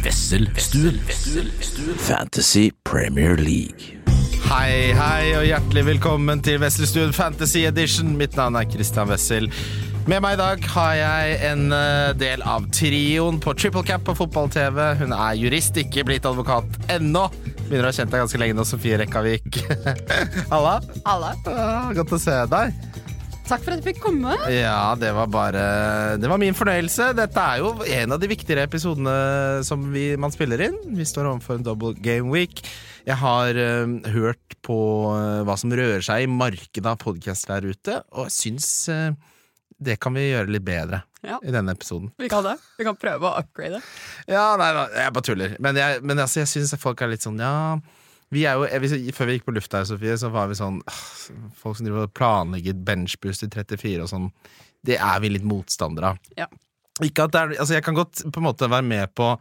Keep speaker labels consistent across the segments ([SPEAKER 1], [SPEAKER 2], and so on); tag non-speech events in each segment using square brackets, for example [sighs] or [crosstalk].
[SPEAKER 1] Vesselstuen. Fantasy Premier League.
[SPEAKER 2] Hei, hei og hjertelig velkommen til Wesselstuen Fantasy Edition. Mitt navn er Christian Wessel. Med meg i dag har jeg en eh, del av trioen på Triple Cap på fotball-TV. Hun er jurist, ikke blitt advokat ennå. Begynner å ha kjent deg ganske lenge nå, Sofie Rekkavik. [laughs] Halla.
[SPEAKER 3] Alle.
[SPEAKER 2] Ah, Godt å se deg.
[SPEAKER 3] Takk for at jeg fikk komme.
[SPEAKER 2] Ja, det var bare Det var min fornøyelse. Dette er jo en av de viktigere episodene som vi, man spiller inn. Vi står overfor en double game week. Jeg har eh, hørt på eh, hva som rører seg i markedet av podcaster der ute, og jeg syns eh, det kan vi gjøre litt bedre
[SPEAKER 3] Ja.
[SPEAKER 2] i denne episoden.
[SPEAKER 3] Vi kan det. Vi kan prøve å upgrade.
[SPEAKER 2] Ja, nei, nei, jeg bare tuller. Men jeg, men altså, jeg syns folk er litt sånn, ja vi er jo, jeg, hvis- Før vi gikk på lufta her, Sofie, så var vi sånn «Åh, Folk som driver og planlegger benchboost i 34 og sånn, det er vi litt motstandere av.
[SPEAKER 3] Ja.
[SPEAKER 2] Ikke at det er, altså jeg kan godt på en måte være med på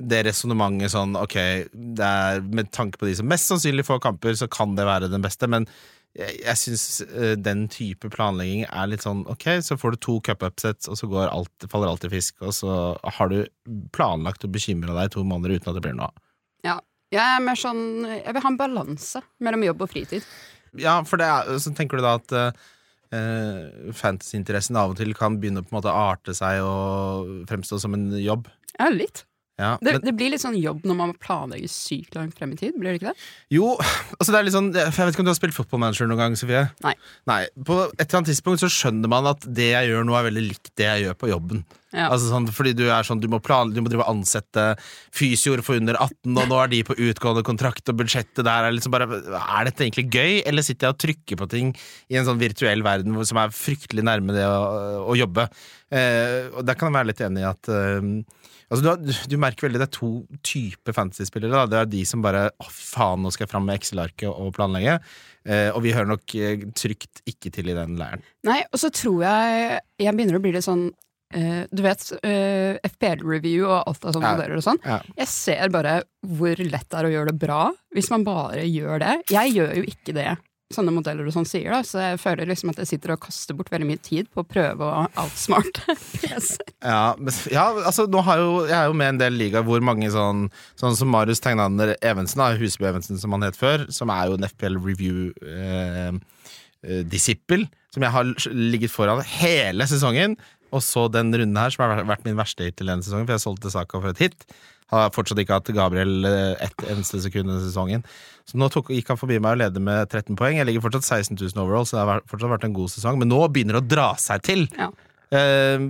[SPEAKER 2] det resonnementet sånn Ok, det er, med tanke på de som mest sannsynlig får kamper, så kan det være den beste, men jeg, jeg syns den type planlegging er litt sånn Ok, så får du to cup-upsets, og så går alt, faller alt i fisk, og så har du planlagt og bekymra deg i to måneder uten at det blir noe av.
[SPEAKER 3] Ja. Jeg er mer sånn Jeg vil ha en balanse mellom jobb og fritid.
[SPEAKER 2] Ja, for det er, så tenker du da at uh, fantasy-interessen av og til kan begynne å på en måte arte seg og fremstå som en jobb.
[SPEAKER 3] Ja, litt.
[SPEAKER 2] Ja,
[SPEAKER 3] Det,
[SPEAKER 2] men-
[SPEAKER 3] det blir litt sånn jobb når man planlegger sykt langt frem i tid, blir det ikke det?
[SPEAKER 2] Jo, altså det er litt sånn For jeg vet ikke om du har spilt fotballmanager noen gang, Sofie?
[SPEAKER 3] Nei.
[SPEAKER 2] Nei, På et eller annet tidspunkt så skjønner man at det jeg gjør nå, er veldig likt det jeg gjør på jobben.
[SPEAKER 3] Ja.
[SPEAKER 2] Altså sånn, fordi du er sånn, du må, plan, du må drive og ansette fysioer for under 18, og nå er de på utgående kontrakt, og budsjettet der er liksom bare Er dette egentlig gøy, eller sitter jeg og trykker på ting i en sånn virtuell verden hvor- som er fryktelig nærme det å, å jobbe? Eh, og der kan jeg være litt enig i at eh, Altså, du, har, du merker veldig det er to typer fantasyspillere. Da. Det er de som bare Å, faen, nå skal jeg fram med Excel-arket og planlegge. Eh, og vi hører nok eh, trygt ikke til i den leiren.
[SPEAKER 3] Nei, og så tror jeg Jeg begynner å bli litt sånn eh, du vet eh, FPL-review og alt det sånt
[SPEAKER 2] Ja.
[SPEAKER 3] modeller og sånn.
[SPEAKER 2] Ja.
[SPEAKER 3] Jeg ser bare hvor lett det er å gjøre det bra, hvis man bare gjør det. Jeg gjør jo ikke det sånne modeller og sånn sier, da, så jeg føler liksom at jeg sitter og kaster bort veldig mye tid på å prøve å outsmarte PC.
[SPEAKER 2] Ja, men, ja altså, nå har jo, jeg er jo med i en del ligaer hvor mange sånn Sånn som Marius Tegnander Evensen, da, Huseby Evensen som han het før, som er jo en FPL Review-disippel, eh, som jeg har ligget foran hele sesongen. Og så den runden her, som har vært min verste hittil denne sesongen, for jeg solgte Saka for et hit. Har fortsatt ikke hatt Gabriel eh, ett eneste sekund denne sesongen. Så nå tok, gikk han forbi meg og leder med 13 poeng. Jeg ligger fortsatt 16 000 overall, så det har vært- fortsatt vært en god sesong. Men nå begynner det å dra seg til.
[SPEAKER 3] Ja.
[SPEAKER 2] Eh,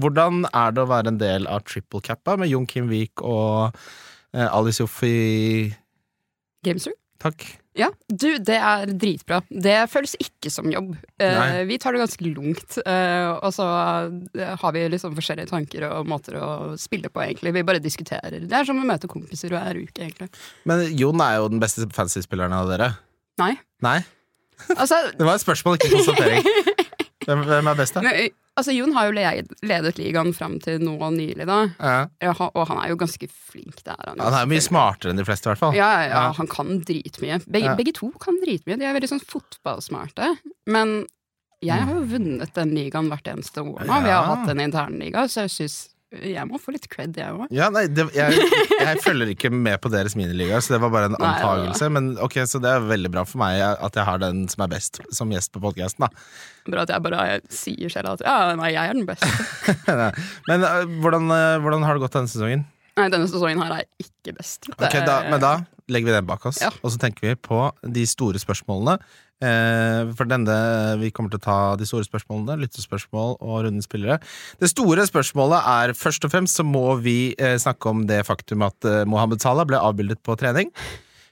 [SPEAKER 2] hvordan er det å være en del av triple cappa med Jon Kim Vik og eh, Alice Joffi
[SPEAKER 3] Gamester?
[SPEAKER 2] Takk.
[SPEAKER 3] Ja, du, det er dritbra. Det føles ikke som jobb. Eh,
[SPEAKER 2] Nei.
[SPEAKER 3] vi tar det ganske lungt, eh, og så eh, har vi liksom forskjellige tanker og måter å spille på, egentlig. Vi bare diskuterer. Det er som å møte kompiser hver uke, egentlig.
[SPEAKER 2] Men Jon er jo den beste fantasy-spilleren av dere.
[SPEAKER 3] Nei.
[SPEAKER 2] Nei?
[SPEAKER 3] Altså,
[SPEAKER 2] Det var et spørsmål, ikke en konstatering. Hvem, hvem er best, da?
[SPEAKER 3] men, eh, altså Jon har jo leid- ledet ligaen fram til nå nylig, da.
[SPEAKER 2] Ja.
[SPEAKER 3] Ja, han- Og han er jo ganske flink, det er han.
[SPEAKER 2] Han er
[SPEAKER 3] jo
[SPEAKER 2] jo mye
[SPEAKER 3] selvfølgelig.
[SPEAKER 2] smartere enn de fleste, i hvert fall.
[SPEAKER 3] Ja, ja, ja,
[SPEAKER 2] Ja.
[SPEAKER 3] han kan dritmye. Begge,
[SPEAKER 2] Ja.
[SPEAKER 3] begge to kan dritmye. De er veldig sånn fotballsmarte. Men jeg har jo vunnet den ligaen hvert eneste år nå. Vi
[SPEAKER 2] Mm. Ja.
[SPEAKER 3] har hatt en internliga, så jeg syns jeg må få litt cred, jeg òg.
[SPEAKER 2] Ja, nei, det, jeg, jeg følger ikke med på deres miniligaer, så det var bare en
[SPEAKER 3] Nei, det var-
[SPEAKER 2] antagelse. Men ok, så det er veldig bra for meg at jeg har den som er best som gjest på podkasten, da.
[SPEAKER 3] Bra at jeg bare sier selv at ja, nei, jeg er den beste.
[SPEAKER 2] [laughs] Men eh, hvordan, eh, hvordan har det gått denne sesongen?
[SPEAKER 3] Nei, denne sesongen her er ikke best. Det
[SPEAKER 2] Ok,
[SPEAKER 3] er-
[SPEAKER 2] da, Men da legger vi den bak oss,
[SPEAKER 3] Ja.
[SPEAKER 2] og så tenker vi på de store spørsmålene. Eh, for denne, Vi kommer til å ta de store spørsmålene, lyttespørsmål og rundens spillere. Det store spørsmålet er først og fremst så må vi eh, snakke om det faktum at eh, Mohammed Salah ble avbildet på trening.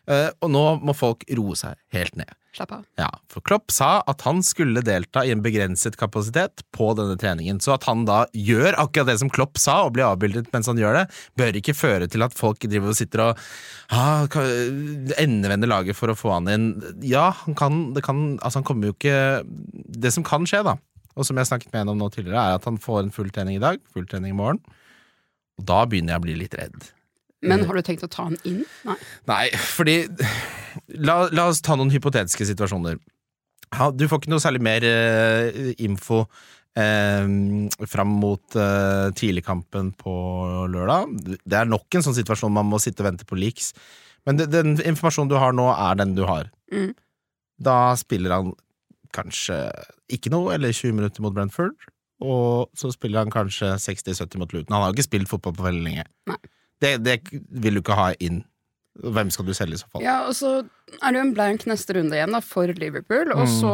[SPEAKER 2] Eh, og nå må folk roe seg helt ned.
[SPEAKER 3] Slapp av.
[SPEAKER 2] Ja, for Klopp sa at han skulle delta i en begrenset kapasitet på denne treningen. Så at han da gjør akkurat det som Klopp sa, og blir avbildet mens han gjør det, bør ikke føre til at folk driver og sitter og ah, ka- endevender laget for å få han inn. Ja, han kan, det kan Altså, han kommer jo ikke Det som kan skje, da, og som jeg snakket med en om nå tidligere, er at han får en full trening i dag, full trening i morgen. Og da begynner jeg å bli litt redd. Mm.
[SPEAKER 3] Men har du tenkt å ta han inn? Nei.
[SPEAKER 2] Nei, fordi la, la oss ta noen hypotetiske situasjoner. Ha, du får ikke noe særlig mer eh, info eh, fram mot eh, tidligkampen på lørdag. Det er nok en sånn situasjon man må sitte og vente på leaks. Men det, den informasjonen du har nå, er den du har.
[SPEAKER 3] Mm.
[SPEAKER 2] Da spiller han kanskje ikke noe, eller 20 minutter mot Brentford. Og så spiller han kanskje 60-70 mot Luton. Han har jo ikke spilt fotball på veldig lenge.
[SPEAKER 3] Nei.
[SPEAKER 2] Det, det vil du ikke ha inn. Hvem skal du selge i så fall?
[SPEAKER 3] Ja, og så er det jo en blank neste runde igjen da, for Liverpool, og så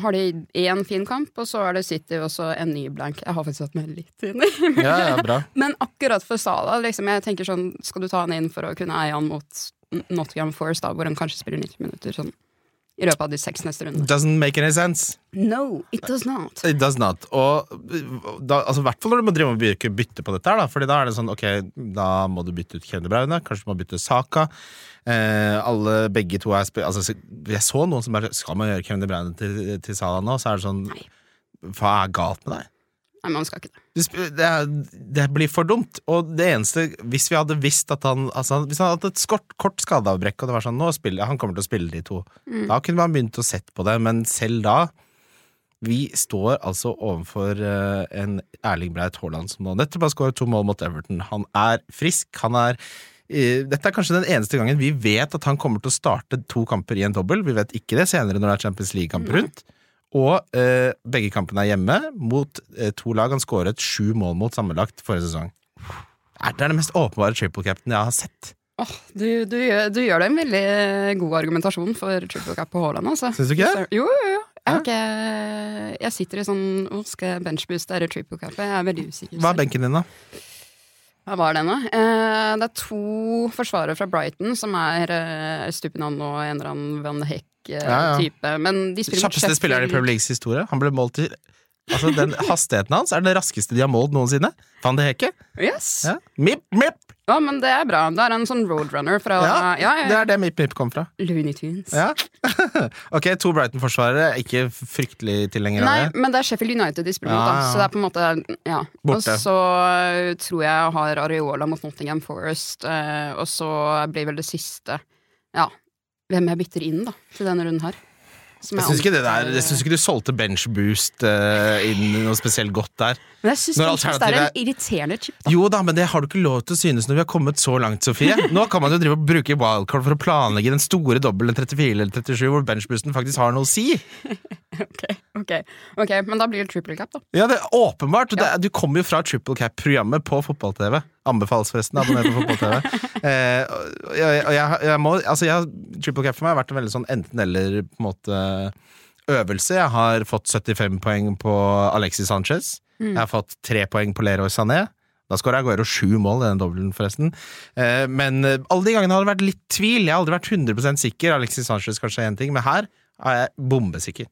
[SPEAKER 3] har de én fin kamp, og så er det City og så en ny blank. Jeg har faktisk hatt meg litt inn i. [laughs]
[SPEAKER 2] Ja, ja, bra.
[SPEAKER 3] Men akkurat for Sala, liksom, jeg tenker sånn, skal du ta han inn for å kunne eie han mot Nottingham Forest, da, hvor han kanskje spiller 90 minutter sånn, i løpet av de seks neste rundene?
[SPEAKER 2] Doesn't make any sense.
[SPEAKER 3] No, it does not.
[SPEAKER 2] It does not. Og da, altså, i hvert fall når du må drive og bytte- bytte på dette her, da. Fordi da er det sånn, ok, da må du bytte ut Kevin De Bruyne, kanskje du må bytte Saka. Eh, alle, begge to er spe- altså, Jeg så noen som bare Skal man gjøre Kevin De Bruyne til, til Salah nå? Så er det sånn
[SPEAKER 3] Nei.
[SPEAKER 2] Hva er galt med deg?
[SPEAKER 3] Nei, man skal ikke det.
[SPEAKER 2] Du sp- Det, er, det blir for dumt. Og det eneste Hvis vi hadde visst at han altså, han- Hvis han hadde hatt et skort, kort skadeavbrekk, og det var sånn nå spiller, Han kommer til å spille de to, da kunne man begynt å sett på det. Men selv da Vi står altså overfor eh, en Erling Braut Haaland som nå nettopp har skåret to mål mot Everton. Han er frisk. Han er eh, dette er kanskje den eneste gangen vi vet at han kommer til å starte to kamper i en dobbel. Vi vet ikke det senere når det er Champions League-kamp rundt. Og eh, begge kampene er hjemme mot eh, to lag han skåret sju mål mot sammenlagt forrige sesong. Er det er den mest åpenbare triple captain jeg har sett.
[SPEAKER 3] Åh, du, du, gjør- du gjør det en veldig eh, god argumentasjon for triple cap på Haaland, altså.
[SPEAKER 2] Syns du ikke det?
[SPEAKER 3] Jo, jo, jo. Jeg, har ikke, jeg sitter i sånn Å, skal jeg benchbooste eller triple cap? Jeg er veldig usikker.
[SPEAKER 2] Hva
[SPEAKER 3] selv.
[SPEAKER 2] er benken din, da?
[SPEAKER 3] Hva var den, da? Eh, det er to forsvarere fra Brighton som er eh, Stupinan og en eller annen Van
[SPEAKER 2] Ja, ja.
[SPEAKER 3] Heck-type. Men de spiller mot
[SPEAKER 2] Kjappeste spilleren i
[SPEAKER 3] Sheffield.
[SPEAKER 2] Premier Leagues historie. Han ble målt i Altså, den hastigheten hans er den raskeste de har målt noensinne. Van de Heke.
[SPEAKER 3] Yes. Ja.
[SPEAKER 2] Ja. Mip, mip!
[SPEAKER 3] men det er bra. Det er en sånn roadrunner fra ja.
[SPEAKER 2] Ja,
[SPEAKER 3] Ja,
[SPEAKER 2] Det er det mip, mip kom fra.
[SPEAKER 3] Looney Tunes.
[SPEAKER 2] Ja. [laughs] ok, to Brighton-forsvarere. Ikke fryktelig tilhenger
[SPEAKER 3] Nei,
[SPEAKER 2] av det.
[SPEAKER 3] men det er Sheffield United de spiller mot,
[SPEAKER 2] Ja,
[SPEAKER 3] da.
[SPEAKER 2] ja.
[SPEAKER 3] så det er på en måte ja. Og
[SPEAKER 2] Borte.
[SPEAKER 3] så eh, tror jeg jeg har Areola mot Nottingham Forest, eh, og så blir vel det siste Ja, hvem jeg bytter inn, da, til denne runden her. Som
[SPEAKER 2] Jeg syns ikke, det
[SPEAKER 3] antar-
[SPEAKER 2] der- jeg synes ikke du solgte bench boost eh, inn noe spesielt godt der.
[SPEAKER 3] eh, Men jeg syns
[SPEAKER 2] Når
[SPEAKER 3] kanskje det er
[SPEAKER 2] alternativet
[SPEAKER 3] en irriterende chip, da.
[SPEAKER 2] Jo da, men det har du ikke lov til å synes når vi har kommet så langt, Sofie. Nå kan man jo drive og bruke wildcard for å planlegge den store dobbelen 34 eller 37, hvor benchboosten faktisk har noe å si.
[SPEAKER 3] Ok, ok, men da blir det triple cap, da.
[SPEAKER 2] Ja, det er åpenbart. Det er, du kommer jo fra Triple Cap-programmet på fotball-TV. Anbefales forresten. Abonner på fotball-TV. eh, og jeg, og jeg, jeg må, altså jeg, triple Cap for meg har vært en veldig sånn enten-eller på en måte øvelse. Jeg har fått 75 poeng på Alexis Sanchez. Jeg har fått tre poeng på Leroy Sané. Da skåra Aguero sju mål i den dobbelen, forresten. Eh, men eh, alle de gangene har det vært litt tvil. Jeg har aldri vært 100 sikker. Alexis Sanchez kanskje er én ting, men her er jeg bombesikker.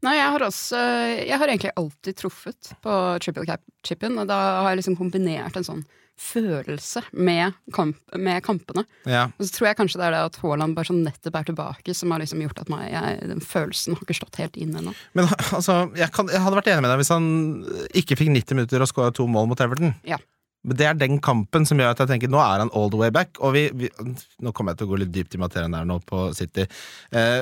[SPEAKER 3] Nei, jeg har også eh, Jeg har egentlig alltid truffet på triple cap-chipen, og da har jeg liksom kombinert en sånn følelse med, kamp, med kampene.
[SPEAKER 2] Ja.
[SPEAKER 3] Og så tror jeg kanskje det er det at Haaland bare sånn nettopp er tilbake, som har liksom gjort at meg, jeg, den følelsen har ikke slått helt inn ennå.
[SPEAKER 2] Men altså, jeg, kan, jeg hadde vært enig med deg hvis han ikke fikk 90 minutter og skåra to mål mot Everton.
[SPEAKER 3] Ja.
[SPEAKER 2] Men det er den kampen som gjør at jeg tenker nå er han all the way back. Og vi, vi, nå kommer jeg til å gå litt dypt i materien her nå på City. Eh,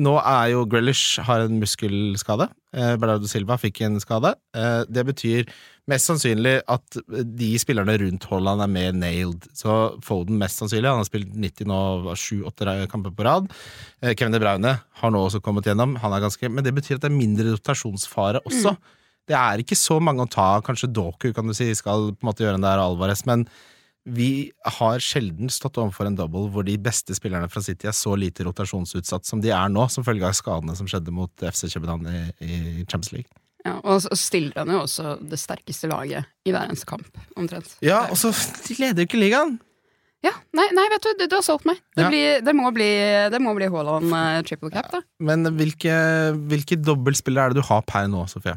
[SPEAKER 2] nå er jo Grealish har en muskelskade. Eh, Bernardo Silva fikk en skade. Eh, det betyr mest sannsynlig at de spillerne rundt Haaland er mer nailed. Så Foden mest sannsynlig. Han har spilt 90 nå, sju-åtte kamper på rad. Eh, Kevin De Bruyne har nå også kommet gjennom. Han er ganske, men det betyr at det er mindre rotasjonsfare også. Det er ikke så mange å ta av. Kanskje Doku kan du si, skal på en måte gjøre en der Alvarez, men vi har sjelden stått overfor en double hvor de beste spillerne fra City er så lite rotasjonsutsatt som de er nå, som følge av skadene som skjedde mot FC København i, i Champions League.
[SPEAKER 3] Ja, og så stiller han jo også det sterkeste laget i hver eneste kamp, omtrent.
[SPEAKER 2] Ja, og så de leder jo ikke ligaen!
[SPEAKER 3] Ja, nei, nei, vet du, du, du har solgt meg. Det,
[SPEAKER 2] Ja.
[SPEAKER 3] blir, det må bli, det må bli Haaland eh, triple cap, da.
[SPEAKER 2] Men hvilke, hvilke dobbeltspillere er det du har per nå, Sofie?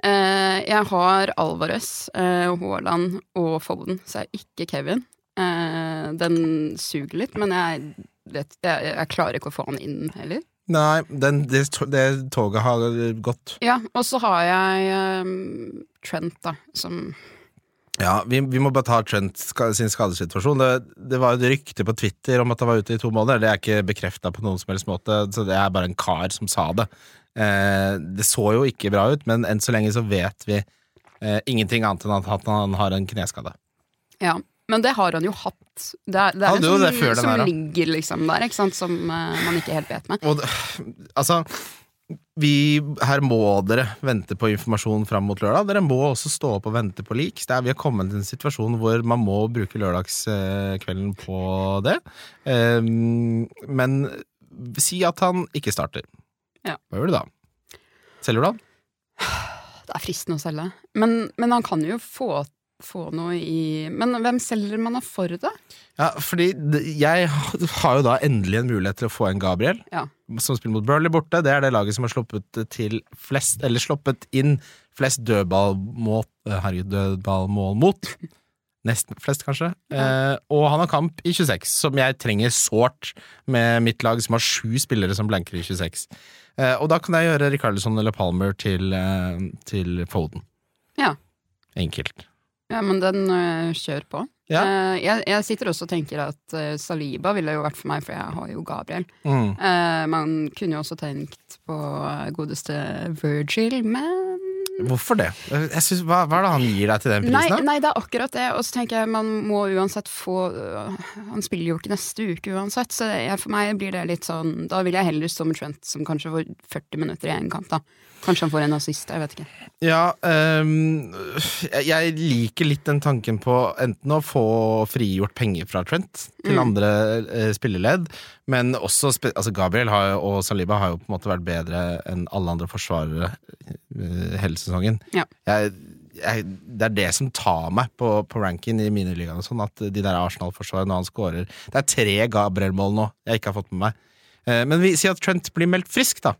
[SPEAKER 3] Eh, jeg har Alvarez, eh, Haaland og Foden, så jeg er ikke Kevin. Eh, den suger litt, men jeg, vet, jeg, jeg klarer ikke å få han inn heller.
[SPEAKER 2] Nei, den, det, to- det toget har gått.
[SPEAKER 3] Ja, og så har jeg eh, Trent, da, som
[SPEAKER 2] Ja, vi, vi må bare ta Trent ska- sin skadesituasjon. Det, det var et rykte på Twitter om at han var ute i to måneder. Det er ikke bekrefta på noen som helst måte, så det er bare en kar som sa det. eh, Det så jo ikke bra ut, men enn så lenge så vet vi eh, ingenting annet enn at han har en kneskade.
[SPEAKER 3] Ja, men det har han jo hatt. Det er, det er
[SPEAKER 2] Hadde
[SPEAKER 3] en
[SPEAKER 2] jo
[SPEAKER 3] sånn,
[SPEAKER 2] det før den
[SPEAKER 3] som
[SPEAKER 2] her, da.
[SPEAKER 3] ligger liksom der, ikke sant, som eh, man ikke helt vet med.
[SPEAKER 2] Og det- altså vi, her må dere vente på informasjon fram mot lørdag. Dere må også stå opp og vente på lik. Det er, vi har kommet til en situasjon hvor man må bruke lørdagskvelden på det. Eh, men si at han ikke starter.
[SPEAKER 3] Ja.
[SPEAKER 2] Hva gjør du da? Selger du han?
[SPEAKER 3] Det er fristende å selge. Men, men han kan jo få, få noe i Men hvem selger man da for det?
[SPEAKER 2] Ja, fordi det- jeg [laughs] har jo da endelig en mulighet til å få en Gabriel,
[SPEAKER 3] Ja.
[SPEAKER 2] som spiller mot Burnley borte. Det er det laget som har sluppet til flest, eller sluppet inn flest dødball mot, eh, herregud, dødballmål mot. Nest flest, kanskje. Eh, og han har kamp i 26, som jeg trenger sårt med mitt lag, som har sju spillere som blanker i 26. Eh, og da kan jeg gjøre Rikarlison eller Palmer til, eh, til Foden.
[SPEAKER 3] Ja.
[SPEAKER 2] Enkelt.
[SPEAKER 3] Ja, men den øh, kjør på.
[SPEAKER 2] Ja.
[SPEAKER 3] Eh, jeg, jeg sitter også og tenker at eh, Saliba ville jo vært for meg, for jeg har jo Gabriel.
[SPEAKER 2] Mm.
[SPEAKER 3] Eh, man kunne jo også tenkt på eh, godeste Virgil, men
[SPEAKER 2] Hvorfor det? Jeg synes, hva, hva er det han gir deg til den
[SPEAKER 3] nei,
[SPEAKER 2] prisen? da?
[SPEAKER 3] nei, det er akkurat det. Og så tenker jeg man må uansett få øh, Han spiller jo ikke neste uke uansett, så jeg, for meg blir det litt sånn Da vil jeg heller stå med Trent, som kanskje får 40 minutter i én kamp, da. Kanskje han får en assist, jeg vet ikke.
[SPEAKER 2] Ja, ehm, jeg- jeg liker litt den tanken på enten å få frigjort penger fra Trent til
[SPEAKER 3] Mm.
[SPEAKER 2] andre eh, spilleledd, men også spe altså Gabriel har, jo- og Saliba har jo på en måte vært bedre enn alle andre forsvarere eh, hele sesongen.
[SPEAKER 3] Ja.
[SPEAKER 2] Jeg, jeg, det er det som tar meg på, på ranken i miniligaen, og sånn, at de der Arsenal-forsvarerne når han scorer Det er tre Gabriel-mål nå jeg ikke har fått med meg. Eh, men vi sier at Trent blir meldt frisk, da.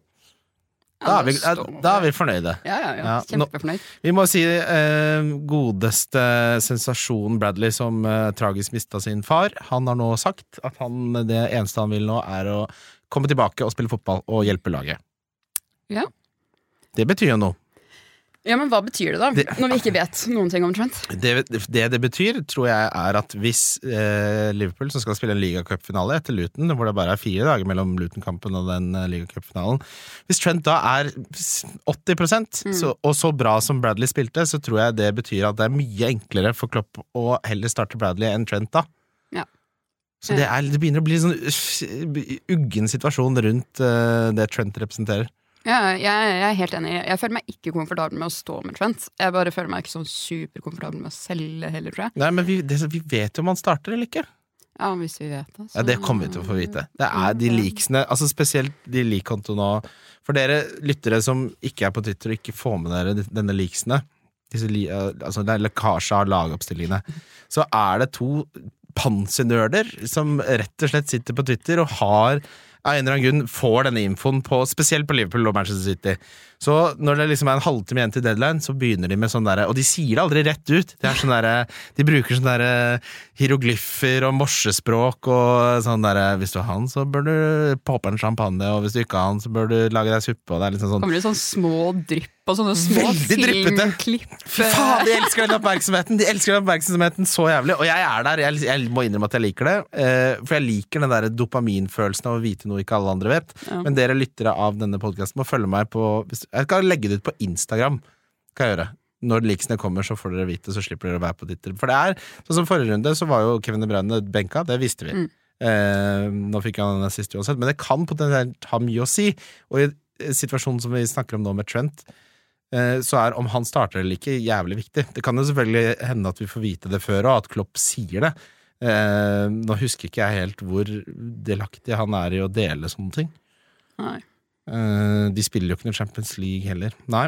[SPEAKER 2] Da er vi,
[SPEAKER 3] Ja, da står-
[SPEAKER 2] da er vi fornøyde.
[SPEAKER 3] ja, ja, ja.
[SPEAKER 2] Ja, nå-
[SPEAKER 3] Kjempefornøyd.
[SPEAKER 2] Vi må si eh, godeste sensasjonen Bradley som eh, tragisk mista sin far. Han har nå sagt at han, det eneste han vil nå, er å komme tilbake og spille fotball og hjelpe laget.
[SPEAKER 3] Ja.
[SPEAKER 2] Det betyr jo noe.
[SPEAKER 3] Ja, men hva betyr det, da?
[SPEAKER 2] Det-
[SPEAKER 3] Når vi ikke vet noen ting om Trent?
[SPEAKER 2] Det det, det betyr, tror jeg, er at hvis eh, Liverpool, som skal spille en ligacupfinale etter Luton, hvor det bare er fire dager mellom Luton-kampen og den eh, ligacupfinalen Hvis Trent da er 80 så, og så bra som Bradley spilte, så tror jeg det betyr at det er mye enklere for Klopp å heller starte Bradley enn Trent da.
[SPEAKER 3] Ja.
[SPEAKER 2] Så det, er, det begynner å bli en sånn uggen situasjon rundt eh, det Trent representerer.
[SPEAKER 3] Ja, jeg, jeg er helt enig. Jeg føler meg ikke komfortabel med å stå med Trent. Jeg bare føler meg ikke sånn superkomfortabel med å selge heller, tror jeg.
[SPEAKER 2] Nei, men vi, det, vi vet jo om han starter eller ikke.
[SPEAKER 3] Ja, hvis vi vet det. så-
[SPEAKER 2] Ja, det kommer vi til å få vite. Det er de liksene, altså spesielt de lik-kontoene og- For dere lyttere som ikke er på Twitter og ikke får med dere denne liksene, disse li, eh, altså det er lekkasje av lagoppstillingene, så er det to pansernerder som rett og slett sitter på Twitter og har av en eller annen grunn får denne infoen på, spesielt på Liverpool og Manchester City. Så når det liksom er en halvtime igjen til deadline, så begynner de med sånn derre Og de sier det aldri rett ut. Det er sånn derre De bruker sånn derre hieroglyffer og morsespråk og sånn derre Hvis du har han, så bør du poppe en champagne, og hvis du ikke har han, så bør du lage deg suppe, og det er liksom sånn
[SPEAKER 3] Kommer det sånn små drypp og sånne små
[SPEAKER 2] Veldig dryppete.
[SPEAKER 3] filmklipp?
[SPEAKER 2] Fy faen, de elsker den oppmerksomheten! De elsker den oppmerksomheten så jævlig. Og jeg er der. Jeg, jeg må innrømme at jeg liker det. eh, for jeg liker den der dopaminfølelsen av å vite noe ikke alle andre vet.
[SPEAKER 3] Ja.
[SPEAKER 2] Men dere lyttere av denne podkasten må følge meg på hvis- Jeg skal legge det ut på Instagram. Kan jeg gjøre. Når likesene kommer, så får dere vite, så slipper dere å være på Twitter. For det er, sånn som forrige runde, så var jo Kevin De Bruyne benka. Det visste vi. Eh, nå fikk han en assist uansett, men det kan potensielt ha mye å si. Og i eh, situasjonen som vi snakker om nå med Trent, eh, så er om han starter eller ikke, jævlig viktig. Det kan jo selvfølgelig hende at vi får vite det før, og at Klopp sier det. Eh, nå husker ikke jeg helt hvor delaktig han er i å dele sånne ting.
[SPEAKER 3] Nei.
[SPEAKER 2] Eh, de spiller jo ikke noe Champions League heller. Nei.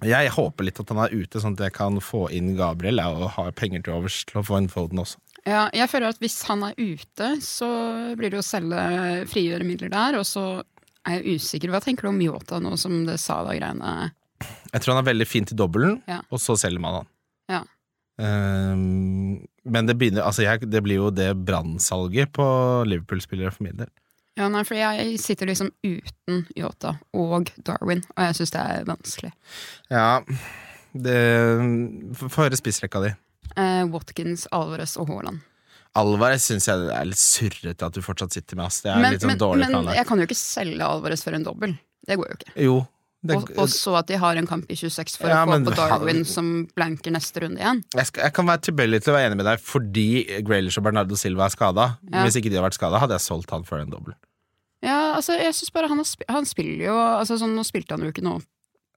[SPEAKER 2] Jeg håper litt at han er ute, sånn at jeg kan få inn Gabriel jeg, og ha penger til overs til å få inn Foden også.
[SPEAKER 3] Ja, jeg føler at hvis han er ute, så blir det jo å selge frigjøre midler der, og så er jeg usikker. Hva tenker du om Yota nå som det sa da greiene
[SPEAKER 2] Jeg tror han er veldig fin til dobbelen,
[SPEAKER 3] Ja.
[SPEAKER 2] og så selger man han.
[SPEAKER 3] Ja.
[SPEAKER 2] Ehm, men det, begynner, altså jeg, det blir jo det brannsalget på Liverpool-spillere for min del.
[SPEAKER 3] Ja, nei, for jeg sitter liksom uten Yota og Darwin, og jeg syns det er vanskelig.
[SPEAKER 2] Ja, det Få få høre spissrekka di.
[SPEAKER 3] Eh, Watkins, Alvarez og Haaland.
[SPEAKER 2] Alvarez syns jeg det er litt surrete at du fortsatt sitter med, ass. Det er
[SPEAKER 3] men,
[SPEAKER 2] litt sånn
[SPEAKER 3] men,
[SPEAKER 2] dårlig
[SPEAKER 3] men
[SPEAKER 2] planlagt.
[SPEAKER 3] jeg kan jo ikke selge Alvarez for en dobbel. Det går jo ikke.
[SPEAKER 2] Jo. Det,
[SPEAKER 3] Og, og så at de har en kamp i 26 for
[SPEAKER 2] Ja,
[SPEAKER 3] å få
[SPEAKER 2] men-
[SPEAKER 3] på Darwin som blanker neste runde igjen.
[SPEAKER 2] jeg, skal, jeg kan være tilbøyelig til å være enig med deg fordi Graylish og Bernardo Silva er skada.
[SPEAKER 3] Ja.
[SPEAKER 2] Hvis ikke de hadde vært skada, hadde jeg solgt han for en dobbel.
[SPEAKER 3] Ja, altså, jeg synes bare han, har sp han spiller jo altså, sånn, Nå spilte han jo ikke nå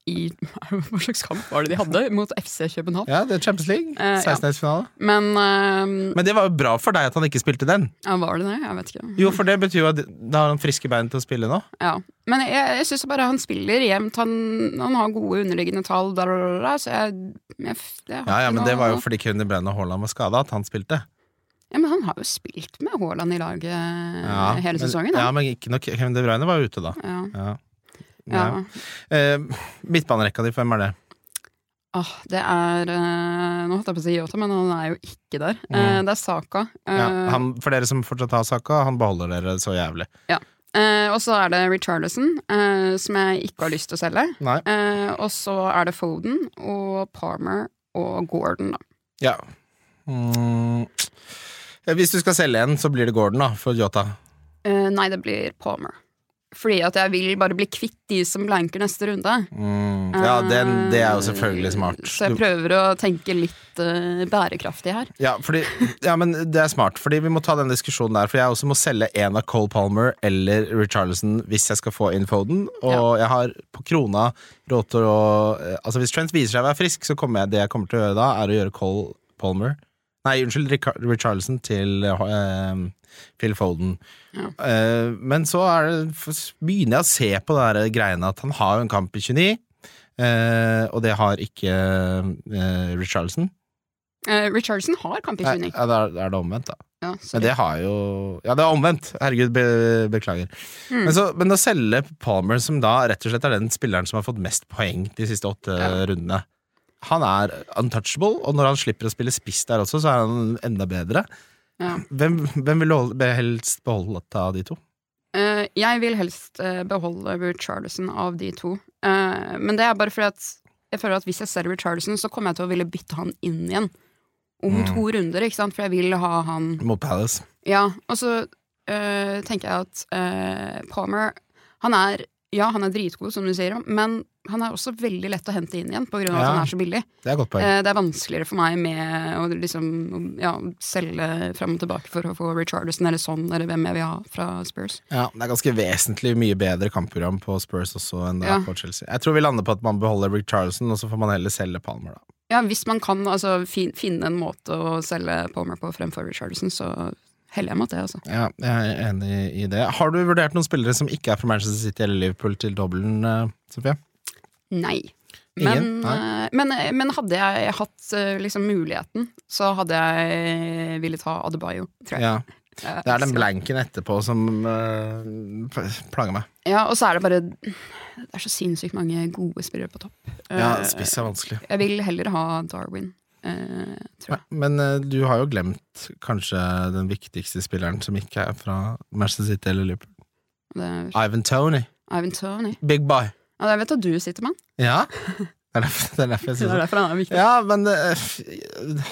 [SPEAKER 3] i [laughs] Hva slags kamp var det de hadde? Mot FC København.
[SPEAKER 2] Ja, det er Champions League.
[SPEAKER 3] Eh, ja.
[SPEAKER 2] 16-delsfinale.
[SPEAKER 3] Men eh,
[SPEAKER 2] Men det var jo bra for deg at han ikke spilte den.
[SPEAKER 3] ja, var det det? Jeg vet ikke.
[SPEAKER 2] Jo, for det betyr jo at da har han friske bein til å spille nå.
[SPEAKER 3] Ja. Men jeg, jeg syns bare han spiller jevnt. Han, han har gode underliggende tall, da, da, da, da, så jeg, jeg det har
[SPEAKER 2] Ja, ja,
[SPEAKER 3] ikke
[SPEAKER 2] men
[SPEAKER 3] noe-
[SPEAKER 2] det var jo fordi Kevin De Bruyne og Haaland var skada, at han spilte.
[SPEAKER 3] Ja, Men han har jo spilt med Haaland i laget eh,
[SPEAKER 2] Ja,
[SPEAKER 3] hele
[SPEAKER 2] men,
[SPEAKER 3] sesongen,
[SPEAKER 2] Ja,
[SPEAKER 3] da.
[SPEAKER 2] men ikke nok Kevin De Bruyne var jo ute da.
[SPEAKER 3] Ja.
[SPEAKER 2] Ja.
[SPEAKER 3] Ja.
[SPEAKER 2] Nei. Eh, midtbanerekka di, hvem er det?
[SPEAKER 3] Åh, det er eh, Nå holdt jeg på å si Yota, men han er jo ikke der. Eh,
[SPEAKER 2] Mm.
[SPEAKER 3] det er Saka. eh,
[SPEAKER 2] Ja, han, for dere som fortsatt har saka, han beholder dere så jævlig.
[SPEAKER 3] eh, og så er det Richarlison, eh, som jeg ikke har lyst til å selge.
[SPEAKER 2] Nei.
[SPEAKER 3] Eh, og så er det Foden og Palmer og Gordon, da.
[SPEAKER 2] Ja. Mm. Ja, Hvis du skal selge en, så blir det Gordon, da, for Jota.
[SPEAKER 3] Eh, nei, det blir Palmer. Fordi at jeg vil bare bli kvitt de som blanker neste runde.
[SPEAKER 2] Mm. Ja, den, det er jo selvfølgelig
[SPEAKER 3] Eh,
[SPEAKER 2] smart. Du-
[SPEAKER 3] Så jeg prøver å tenke litt eh, bærekraftig her.
[SPEAKER 2] Ja, fordi, ja, men det er smart, fordi vi må ta den diskusjonen der. For jeg også må selge en av Cole Palmer eller Richarlison hvis jeg skal få inn Foden. Og jeg har på krona råd til å eh, Altså Hvis Trent viser seg å være frisk, så kommer jeg, det jeg kommer til å gjøre da, er å gjøre Cole Palmer Nei, unnskyld, Rica- Richarlison til eh, Phil Foden.
[SPEAKER 3] Ja.
[SPEAKER 2] Eh, men så er det, f- begynner jeg å se på det der greiene at han har jo en kamp i 29, eh, og det har ikke eh, Richarlison.
[SPEAKER 3] Eh, Richardson har kamp i
[SPEAKER 2] Nei,
[SPEAKER 3] 29.
[SPEAKER 2] ja, da er- da er det omvendt, da.
[SPEAKER 3] Ja,
[SPEAKER 2] Men
[SPEAKER 3] sorry.
[SPEAKER 2] det har jo Ja, det er omvendt. Herregud, be, beklager.
[SPEAKER 3] Mm.
[SPEAKER 2] Men, så, men å selge Palmer, som da rett og slett er den spilleren som har fått mest poeng de siste åtte
[SPEAKER 3] Ja.
[SPEAKER 2] rundene Han er untouchable, og når han slipper å spille spiss der også, så er han enda bedre.
[SPEAKER 3] Ja.
[SPEAKER 2] Hvem, hvem vil du holde- be- helst beholde av de to?
[SPEAKER 3] Eh, jeg vil helst eh, beholde Richarlison av de to. Eh, men det er bare fordi at jeg føler at hvis jeg ser Richarlison, så kommer jeg til å ville bytte han inn igjen. Om
[SPEAKER 2] Mm.
[SPEAKER 3] to runder, ikke sant? for jeg vil ha han
[SPEAKER 2] Mot Palace.
[SPEAKER 3] Ja, og så øh, tenker jeg at øh, Palmer Han er ja, han er dritgod, som du sier, men han er også veldig lett å hente inn igjen pga. av at
[SPEAKER 2] Ja.
[SPEAKER 3] han er så billig.
[SPEAKER 2] Det er et godt poeng.
[SPEAKER 3] Eh, det er vanskeligere for meg med å liksom, ja, selge fram og tilbake for å få Richardson eller sånn, eller hvem jeg vil ha fra Spurs.
[SPEAKER 2] Ja, det er ganske vesentlig mye bedre kampprogram på Spurs også enn det
[SPEAKER 3] Ja.
[SPEAKER 2] er på Chelsea. Jeg tror vi lander på at man beholder Rick Charleston, og så får man heller selge Palmer, da.
[SPEAKER 3] Ja, Hvis man kan altså, fin finne en måte å selge Palmer på fremfor Richardson, så heller jeg mot det. altså.
[SPEAKER 2] Ja, jeg er enig i det. Har du vurdert noen spillere som ikke er fra Manchester City eller Liverpool til dobbelen, eh, Sofie?
[SPEAKER 3] Nei. Men,
[SPEAKER 2] Ingen?
[SPEAKER 3] eh, men, men hadde jeg hatt eh, liksom muligheten, så hadde jeg villet ha Adebayo, tror jeg.
[SPEAKER 2] Ja,
[SPEAKER 3] Eh,
[SPEAKER 2] det er den
[SPEAKER 3] så-
[SPEAKER 2] blanken etterpå som eh, p- plager meg.
[SPEAKER 3] Ja, og så er det bare Det er så sinnssykt mange gode spillere på topp. Eh,
[SPEAKER 2] Ja, spiss er vanskelig.
[SPEAKER 3] jeg vil heller ha Darwin, eh, tror jeg.
[SPEAKER 2] Men eh, du har jo glemt kanskje den viktigste spilleren som ikke er fra Manchester City eller Liverpool.
[SPEAKER 3] Det er
[SPEAKER 2] Ivan Tony.
[SPEAKER 3] Ivan Tony.
[SPEAKER 2] Big boy.
[SPEAKER 3] Ja, jeg vet at du sitter med han.
[SPEAKER 2] Ja, [laughs] det er derfor, det er derfor jeg
[SPEAKER 3] Det
[SPEAKER 2] sier
[SPEAKER 3] er
[SPEAKER 2] det.
[SPEAKER 3] derfor han er viktig.
[SPEAKER 2] Ja, men eh, f-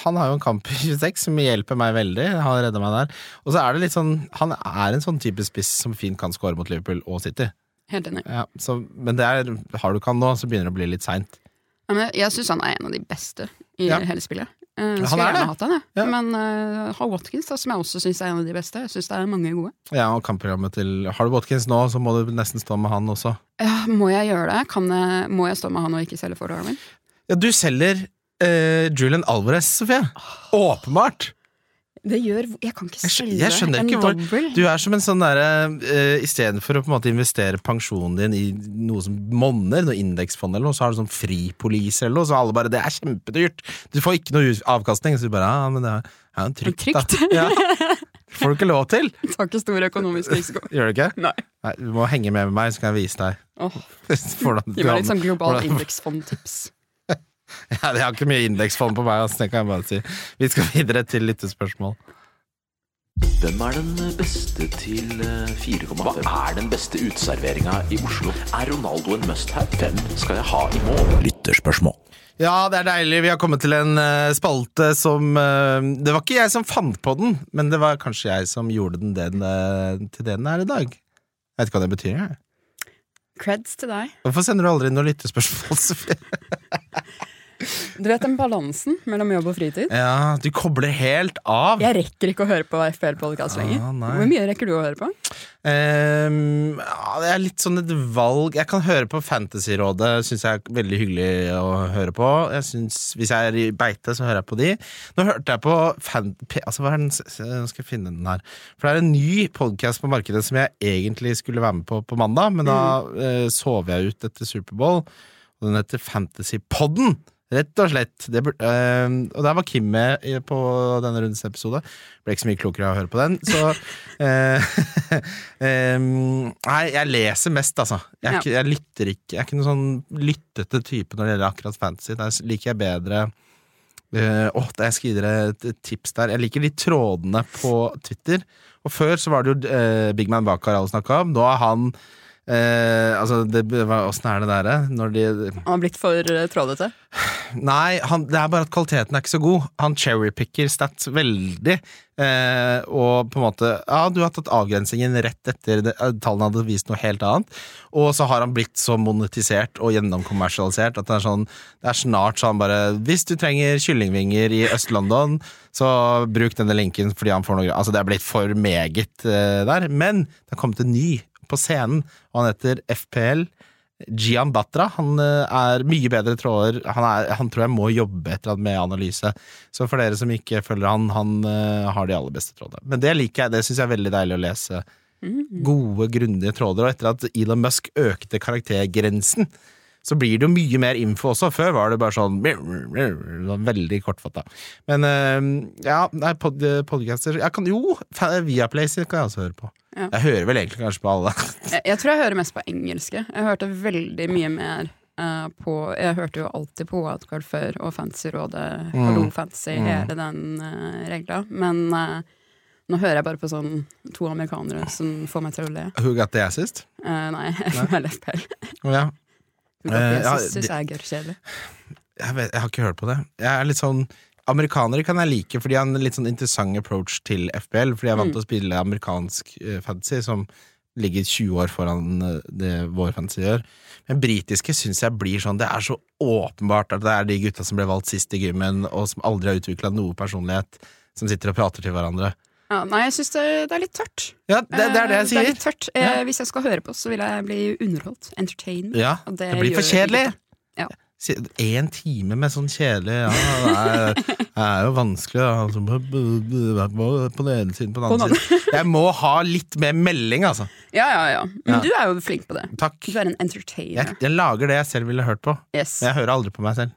[SPEAKER 2] han har jo en kamp i 26 som hjelper meg veldig. Han redder meg der. Og så er det litt sånn Han er en sånn type spiss som fint kan score mot Liverpool og City.
[SPEAKER 3] Helt enig.
[SPEAKER 2] Ja, så, men det er, har du ikke han nå, så begynner det å bli litt seint.
[SPEAKER 3] Ja, men jeg syns han er en av de beste i
[SPEAKER 2] Ja.
[SPEAKER 3] hele spillet. Uh,
[SPEAKER 2] han
[SPEAKER 3] skulle
[SPEAKER 2] er det.
[SPEAKER 3] gjerne hatt han, jeg.
[SPEAKER 2] Ja.
[SPEAKER 3] Men eh, Hal Watkins, da, som jeg også syns er en av de beste, jeg syns det er mange gode.
[SPEAKER 2] Ja, og kampprogrammet til Har du Watkins nå, så må du nesten stå med han også.
[SPEAKER 3] Ja, må jeg gjøre det? Kan jeg, må jeg stå med han og ikke selge for Darwin?
[SPEAKER 2] Ja, du selger eh, Julian Alvarez, Sofie. Åpenbart!
[SPEAKER 3] Det gjør Jeg kan ikke
[SPEAKER 2] Jeg skj-
[SPEAKER 3] selge
[SPEAKER 2] jeg skjønner
[SPEAKER 3] en
[SPEAKER 2] ikke hvor-
[SPEAKER 3] dobbel.
[SPEAKER 2] Du er som en sånn derre eh, Istedenfor å på en måte investere pensjonen din i noe som monner, noe indeksfond eller noe, så har du sånn fripolise eller noe, så alle bare 'Det er kjempedyrt'. Du får ikke noe ut- avkastning, så du bare 'Ja, men det er det er jo trygt,
[SPEAKER 3] Trygt.
[SPEAKER 2] da'. [laughs]
[SPEAKER 3] [laughs]
[SPEAKER 2] Ja. Får du ikke lov til?
[SPEAKER 3] Tar ikke stor økonomisk
[SPEAKER 2] [laughs]
[SPEAKER 3] risiko.
[SPEAKER 2] Gjør du ikke?
[SPEAKER 3] Nei.
[SPEAKER 2] Nei, du må henge med meg, så kan jeg vise deg
[SPEAKER 3] Åh,
[SPEAKER 2] [laughs] hvordan
[SPEAKER 3] gi meg litt sånn global
[SPEAKER 2] hvordan- [laughs]
[SPEAKER 3] indeksfondtips.
[SPEAKER 2] Ja, jeg har ikke mye indeksfond på meg, ass, det kan jeg bare si. Vi skal videre til lyttespørsmål.
[SPEAKER 1] Hvem er den beste til eh, 4,5? Hva er den beste uteserveringa i Oslo? Er Ronaldo en must-have? Hvem skal jeg ha i mål? Lytterspørsmål.
[SPEAKER 2] Ja, det er deilig. Vi har kommet til en eh, spalte som eh, Det var ikke jeg som fant på den, men det var kanskje jeg som gjorde den, den eh, til det den er i dag. Jeg vet ikke hva det betyr, jeg.
[SPEAKER 3] Creds til deg.
[SPEAKER 2] Hvorfor sender du aldri inn noen lyttespørsmål? [laughs] Sofie?
[SPEAKER 3] Du vet den balansen mellom jobb og fritid?
[SPEAKER 2] Ja, du kobler helt av.
[SPEAKER 3] Jeg rekker ikke å høre på FPL-podkast lenger.
[SPEAKER 2] Ah, nei.
[SPEAKER 3] Hvor mye rekker du å høre på?
[SPEAKER 2] Ehm, ja, det er litt sånn et valg Jeg kan høre på Fantasyrådet, syns jeg er veldig hyggelig å høre på. Jeg synes, hvis jeg er i beite, så hører jeg på de. Nå hørte jeg på fan, P- altså, hva er den, s- s- Nå skal jeg finne den her. For det er en ny podkast på markedet som jeg egentlig skulle være med på på mandag, men da eh, sov jeg ut etter Superbowl. Og den heter Fantasypodden, rett og slett. Det bur- ehm, og der var Kim med i- på denne rundens episode. Ble ikke så mye klokere av å høre på den. Så eh, [laughs] ehm, Nei, jeg leser mest, altså. Jeg, er
[SPEAKER 3] Ja.
[SPEAKER 2] ikke, jeg lytter ikke. Jeg er ikke noen sånn lyttete type når det gjelder akkurat fantasy. Der s- liker jeg bedre Eh, Åh, da jeg skal gi dere et et tips der. Jeg liker de trådene på Twitter. Og før så var det jo eh, Big Man Bakar alle snakka om. Nå er han eh, Altså, det- hva- åssen er det derre? Når de
[SPEAKER 3] Han har blitt for eh, trådete.
[SPEAKER 2] Nei, han, det er bare at kvaliteten er ikke så god. Han cherrypicker stats veldig. Eh, og på en måte Ja, du har tatt avgrensingen rett etter det, eh, tallene hadde vist noe helt annet. Og så har han blitt så monetisert og gjennomkommersialisert at det er sånn Det er snart sånn bare Hvis du trenger kyllingvinger i Øst-London, så bruk denne linken fordi han får noe Altså, det er blitt for meget eh, der. Men det har kommet en ny på scenen, og han heter FPL. Gian Batra han eh, er mye bedre tråder. Han, er, han tror jeg må jobbe et eller annet med analyse. Så for dere som ikke følger han, han eh, har de aller beste trådene. Men det liker jeg. Det syns jeg er veldig deilig å lese. Gode, grundige tråder. Og etter at Elon Musk økte karaktergrensen, så blir det jo mye mer info også. Før var det bare sånn Veldig kortfatta. Men eh, ja, nei, pod, podcaster jeg kan, Jo, fa- Viaplay kan jeg også høre på.
[SPEAKER 3] Ja.
[SPEAKER 2] Jeg hører vel egentlig kanskje på alle. [laughs]
[SPEAKER 3] Jeg, jeg tror jeg hører mest på engelske. Jeg hørte veldig mye mer eh, på Jeg hørte jo alltid på Wildcard før og Fantasyrådet,
[SPEAKER 2] Mm.
[SPEAKER 3] Hallo Fantasy, hele den eh, regla. Men eh, nå hører jeg bare på sånn to amerikanere som får meg til å le.
[SPEAKER 2] Who got the assist?
[SPEAKER 3] Eh, nei, [laughs] eller FPL.
[SPEAKER 2] Ja. Eh, ja,
[SPEAKER 3] Jeg syns
[SPEAKER 2] det-
[SPEAKER 3] jeg er gørrkjedelig.
[SPEAKER 2] jeg, vet, jeg har ikke hørt på det. Jeg er litt sånn Amerikanere kan jeg like, for de har en litt sånn interessant approach til FBL. Fordi jeg er vant til å spille amerikansk eh, fantasy, som ligger 20 år foran eh, det vår fantasy gjør. Men britiske syns jeg blir sånn Det er så åpenbart at det er de gutta som ble valgt sist i gymmen, og som aldri har utvikla noe personlighet, som sitter og prater til hverandre.
[SPEAKER 3] Ja, nei, jeg syns det, det er litt tørt.
[SPEAKER 2] Ja, det, det er det jeg
[SPEAKER 3] Eh,
[SPEAKER 2] sier!
[SPEAKER 3] litt tørt. Eh,
[SPEAKER 2] Ja.
[SPEAKER 3] Hvis jeg skal høre på, så vil jeg bli underholdt. Entertained.
[SPEAKER 2] Ja,
[SPEAKER 3] Og
[SPEAKER 2] det blir for
[SPEAKER 3] gjør jeg
[SPEAKER 2] kjedelig.
[SPEAKER 3] ikke. Ja.
[SPEAKER 2] Én time med sånn kjedelig Ja, det
[SPEAKER 3] [laughs]
[SPEAKER 2] er, det er jo vanskelig. da. Altså, b- b- b- b- På den ene siden, på den
[SPEAKER 3] På den
[SPEAKER 2] andre siden. Jeg må ha litt mer melding, altså.
[SPEAKER 3] Ja, ja, ja. Men
[SPEAKER 2] Ja.
[SPEAKER 3] du er jo flink på det.
[SPEAKER 2] Takk.
[SPEAKER 3] Du er en
[SPEAKER 2] Jeg,
[SPEAKER 3] entertainer.
[SPEAKER 2] jeg lager det jeg selv ville hørt på.
[SPEAKER 3] Yes.
[SPEAKER 2] Men jeg hører aldri på meg selv.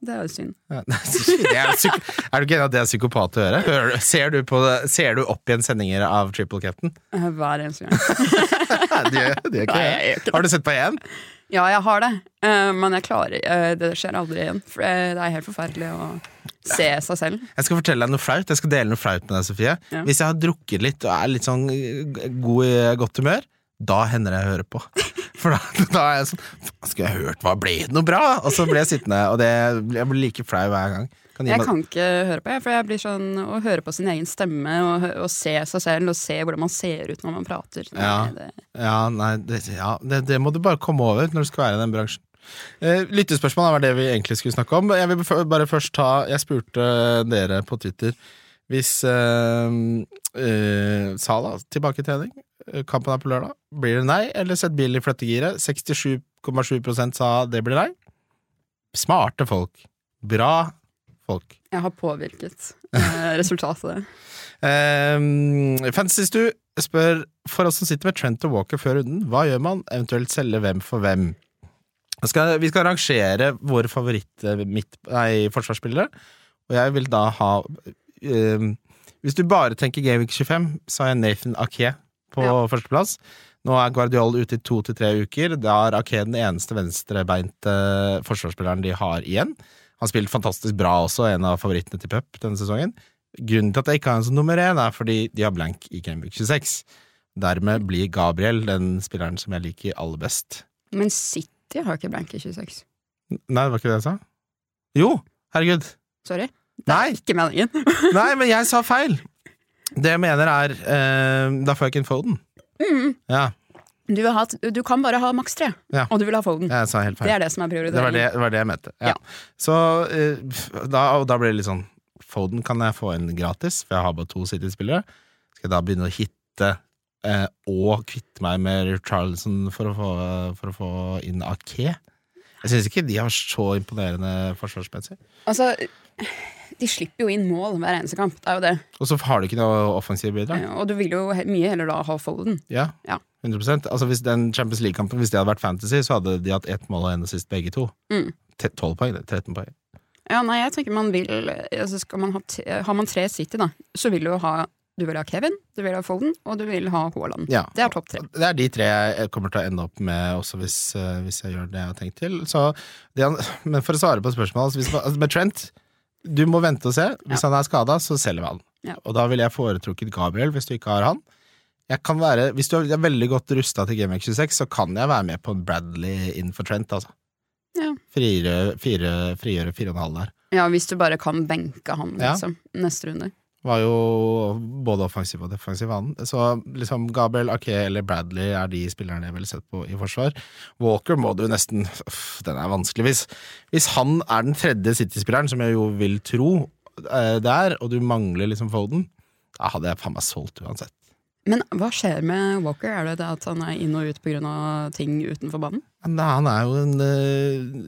[SPEAKER 3] Det er jo synd.
[SPEAKER 2] Ja, [laughs] nei, det er, psyko- er du ikke enig at det er psykopat å gjøre? Hører, du- ser, du på, det- ser du opp igjen sendinger av Triple Captain? [laughs]
[SPEAKER 3] Eh, Hver eneste gang.
[SPEAKER 2] Nei, Det gjør det gjør ikke
[SPEAKER 3] Nei,
[SPEAKER 2] jeg.
[SPEAKER 3] jeg gjør ikke det.
[SPEAKER 2] Har du sett på én?
[SPEAKER 3] Ja, jeg har det, Eh, men jeg klarer eh, Det skjer aldri igjen. For eh, det er helt forferdelig å se seg selv.
[SPEAKER 2] Jeg skal fortelle deg noe flaut. Jeg skal dele noe flaut med deg, Sofie.
[SPEAKER 3] Ja.
[SPEAKER 2] Hvis jeg har drukket litt og er litt sånn eh, god i godt humør, da hender det jeg hører på. [laughs] For da, da er jeg sånn Faen, skulle jeg hørt hva ble det noe bra? Og så blir jeg sittende, og det, jeg blir like flau hver gang. Kan gi
[SPEAKER 3] Jeg
[SPEAKER 2] meg-
[SPEAKER 3] kan ikke høre på, jeg, for jeg blir sånn å høre på sin egen stemme og, hø- og se seg selv og se hvordan man ser ut når man prater. Nei,
[SPEAKER 2] Ja.
[SPEAKER 3] det,
[SPEAKER 2] Ja, nei, det, ja det, det må du bare komme over når du skal være i den bransjen. Eh, lyttespørsmål var det vi egentlig skulle snakke om. Jeg vil f- bare først ta Jeg spurte dere på Twitter hvis eh, eh, Sala tilbake i trening. eh, Kampen er på lørdag. Blir det nei, eller sett bil i flyttegiret? 67,7 sa det blir nei. Smarte folk. Bra folk.
[SPEAKER 3] jeg har påvirket
[SPEAKER 2] [laughs]
[SPEAKER 3] eh, resultatet.
[SPEAKER 2] Um, Fancy Stu spør For oss som sitter med Trent og Walker før runden, hva gjør man? Eventuelt selge hvem for hvem? Jeg Skal, vi skal rangere våre eh, favoritt-forsvarsspillere, og jeg vil da ha um, Hvis du bare tenker Gameweek 25, så har jeg Nathan Ake på
[SPEAKER 3] Ja.
[SPEAKER 2] førsteplass. Nå er Guardiol ute i to til tre uker. Da er Ake den eneste venstrebeinte forsvarsspilleren de har igjen. Han spilte fantastisk bra også, en av favorittene til Pep denne sesongen. Grunnen til at jeg ikke har en som nummer én, er fordi de har blank i Gameweek 26. Dermed blir Gabriel den spilleren som jeg liker aller best.
[SPEAKER 3] Men City har ikke blanke 26.
[SPEAKER 2] N- Nei, det var ikke det jeg sa? Jo! Herregud.
[SPEAKER 3] Sorry.
[SPEAKER 2] Nei!
[SPEAKER 3] Ikke meningen. [laughs]
[SPEAKER 2] Nei, men jeg sa feil! Det jeg mener er eh, Da får jeg ikke en Foden.
[SPEAKER 3] Mm.
[SPEAKER 2] Ja.
[SPEAKER 3] Du, har hatt, du kan bare ha maks tre,
[SPEAKER 2] Ja.
[SPEAKER 3] og du vil ha Foden.
[SPEAKER 2] Jeg sa helt
[SPEAKER 3] Det
[SPEAKER 2] feil.
[SPEAKER 3] er det som er
[SPEAKER 2] Det var
[SPEAKER 3] prioriteringen.
[SPEAKER 2] det, det, var det jeg mente. Ja.
[SPEAKER 3] Ja.
[SPEAKER 2] Så eh, da, og da ble det litt sånn Foden kan jeg få en gratis, for jeg har bare to City-spillere. Skal jeg da begynne å hitte eh, og kvitte meg med Charleston for å få, for å få inn Ake? Jeg syns ikke de har så imponerende forsvarsmessig.
[SPEAKER 3] Altså, de slipper jo inn mål hver eneste kamp, det er jo det.
[SPEAKER 2] Og så har de ikke noe offensivt bidrag.
[SPEAKER 3] Og du vil jo he- mye heller da ha Foden.
[SPEAKER 2] Ja.
[SPEAKER 3] Ja.
[SPEAKER 2] 100 Altså Hvis den Champions League-kampen Hvis det hadde vært fantasy, så hadde de hatt ett mål og en assist, begge to.
[SPEAKER 3] Mm.
[SPEAKER 2] Te- 12 poeng, det. 13 poeng.
[SPEAKER 3] Ja, nei, jeg tenker man vil altså skal man ha t Har man tre City, da, så vil du jo ha Du vil ha Kevin, du vil ha Foden, og du vil ha Haaland.
[SPEAKER 2] Ja.
[SPEAKER 3] Det er topp tre.
[SPEAKER 2] Det er de tre jeg kommer til å ende opp med også hvis, eh, hvis jeg gjør det jeg har tenkt til. Så det han, [laughs] men for å svare på spørsmålet altså hvis, man- altså Med Trent du må vente og se. Hvis han er skada, så selger vi han.
[SPEAKER 3] Ja.
[SPEAKER 2] Og da ville jeg foretrukket Gabriel, hvis du ikke har han. Jeg kan være, hvis du er veldig godt rusta til Gameweek 26, så kan jeg være med på en Bradley inn for Trent, altså.
[SPEAKER 3] Ja.
[SPEAKER 2] Frigjøre fire, frigjøre fire og en halv der.
[SPEAKER 3] Ja, hvis du bare kan benke han,
[SPEAKER 2] Ja.
[SPEAKER 3] liksom. Neste runde.
[SPEAKER 2] Var jo både offensiv og defensiv han. Så liksom Gabriel Ake eller Bradley er de spillerne jeg ville sett på i forsvar. Walker må du nesten Uff, Den er vanskelig. Hvis, hvis han er den tredje City-spilleren, som jeg jo vil tro eh, det er, og du mangler liksom Foden, da hadde jeg faen meg solgt uansett.
[SPEAKER 3] Men hva skjer med Walker? Er det det at han er inn og ut pga. ting utenfor banen?
[SPEAKER 2] Men da, han er jo en, eh,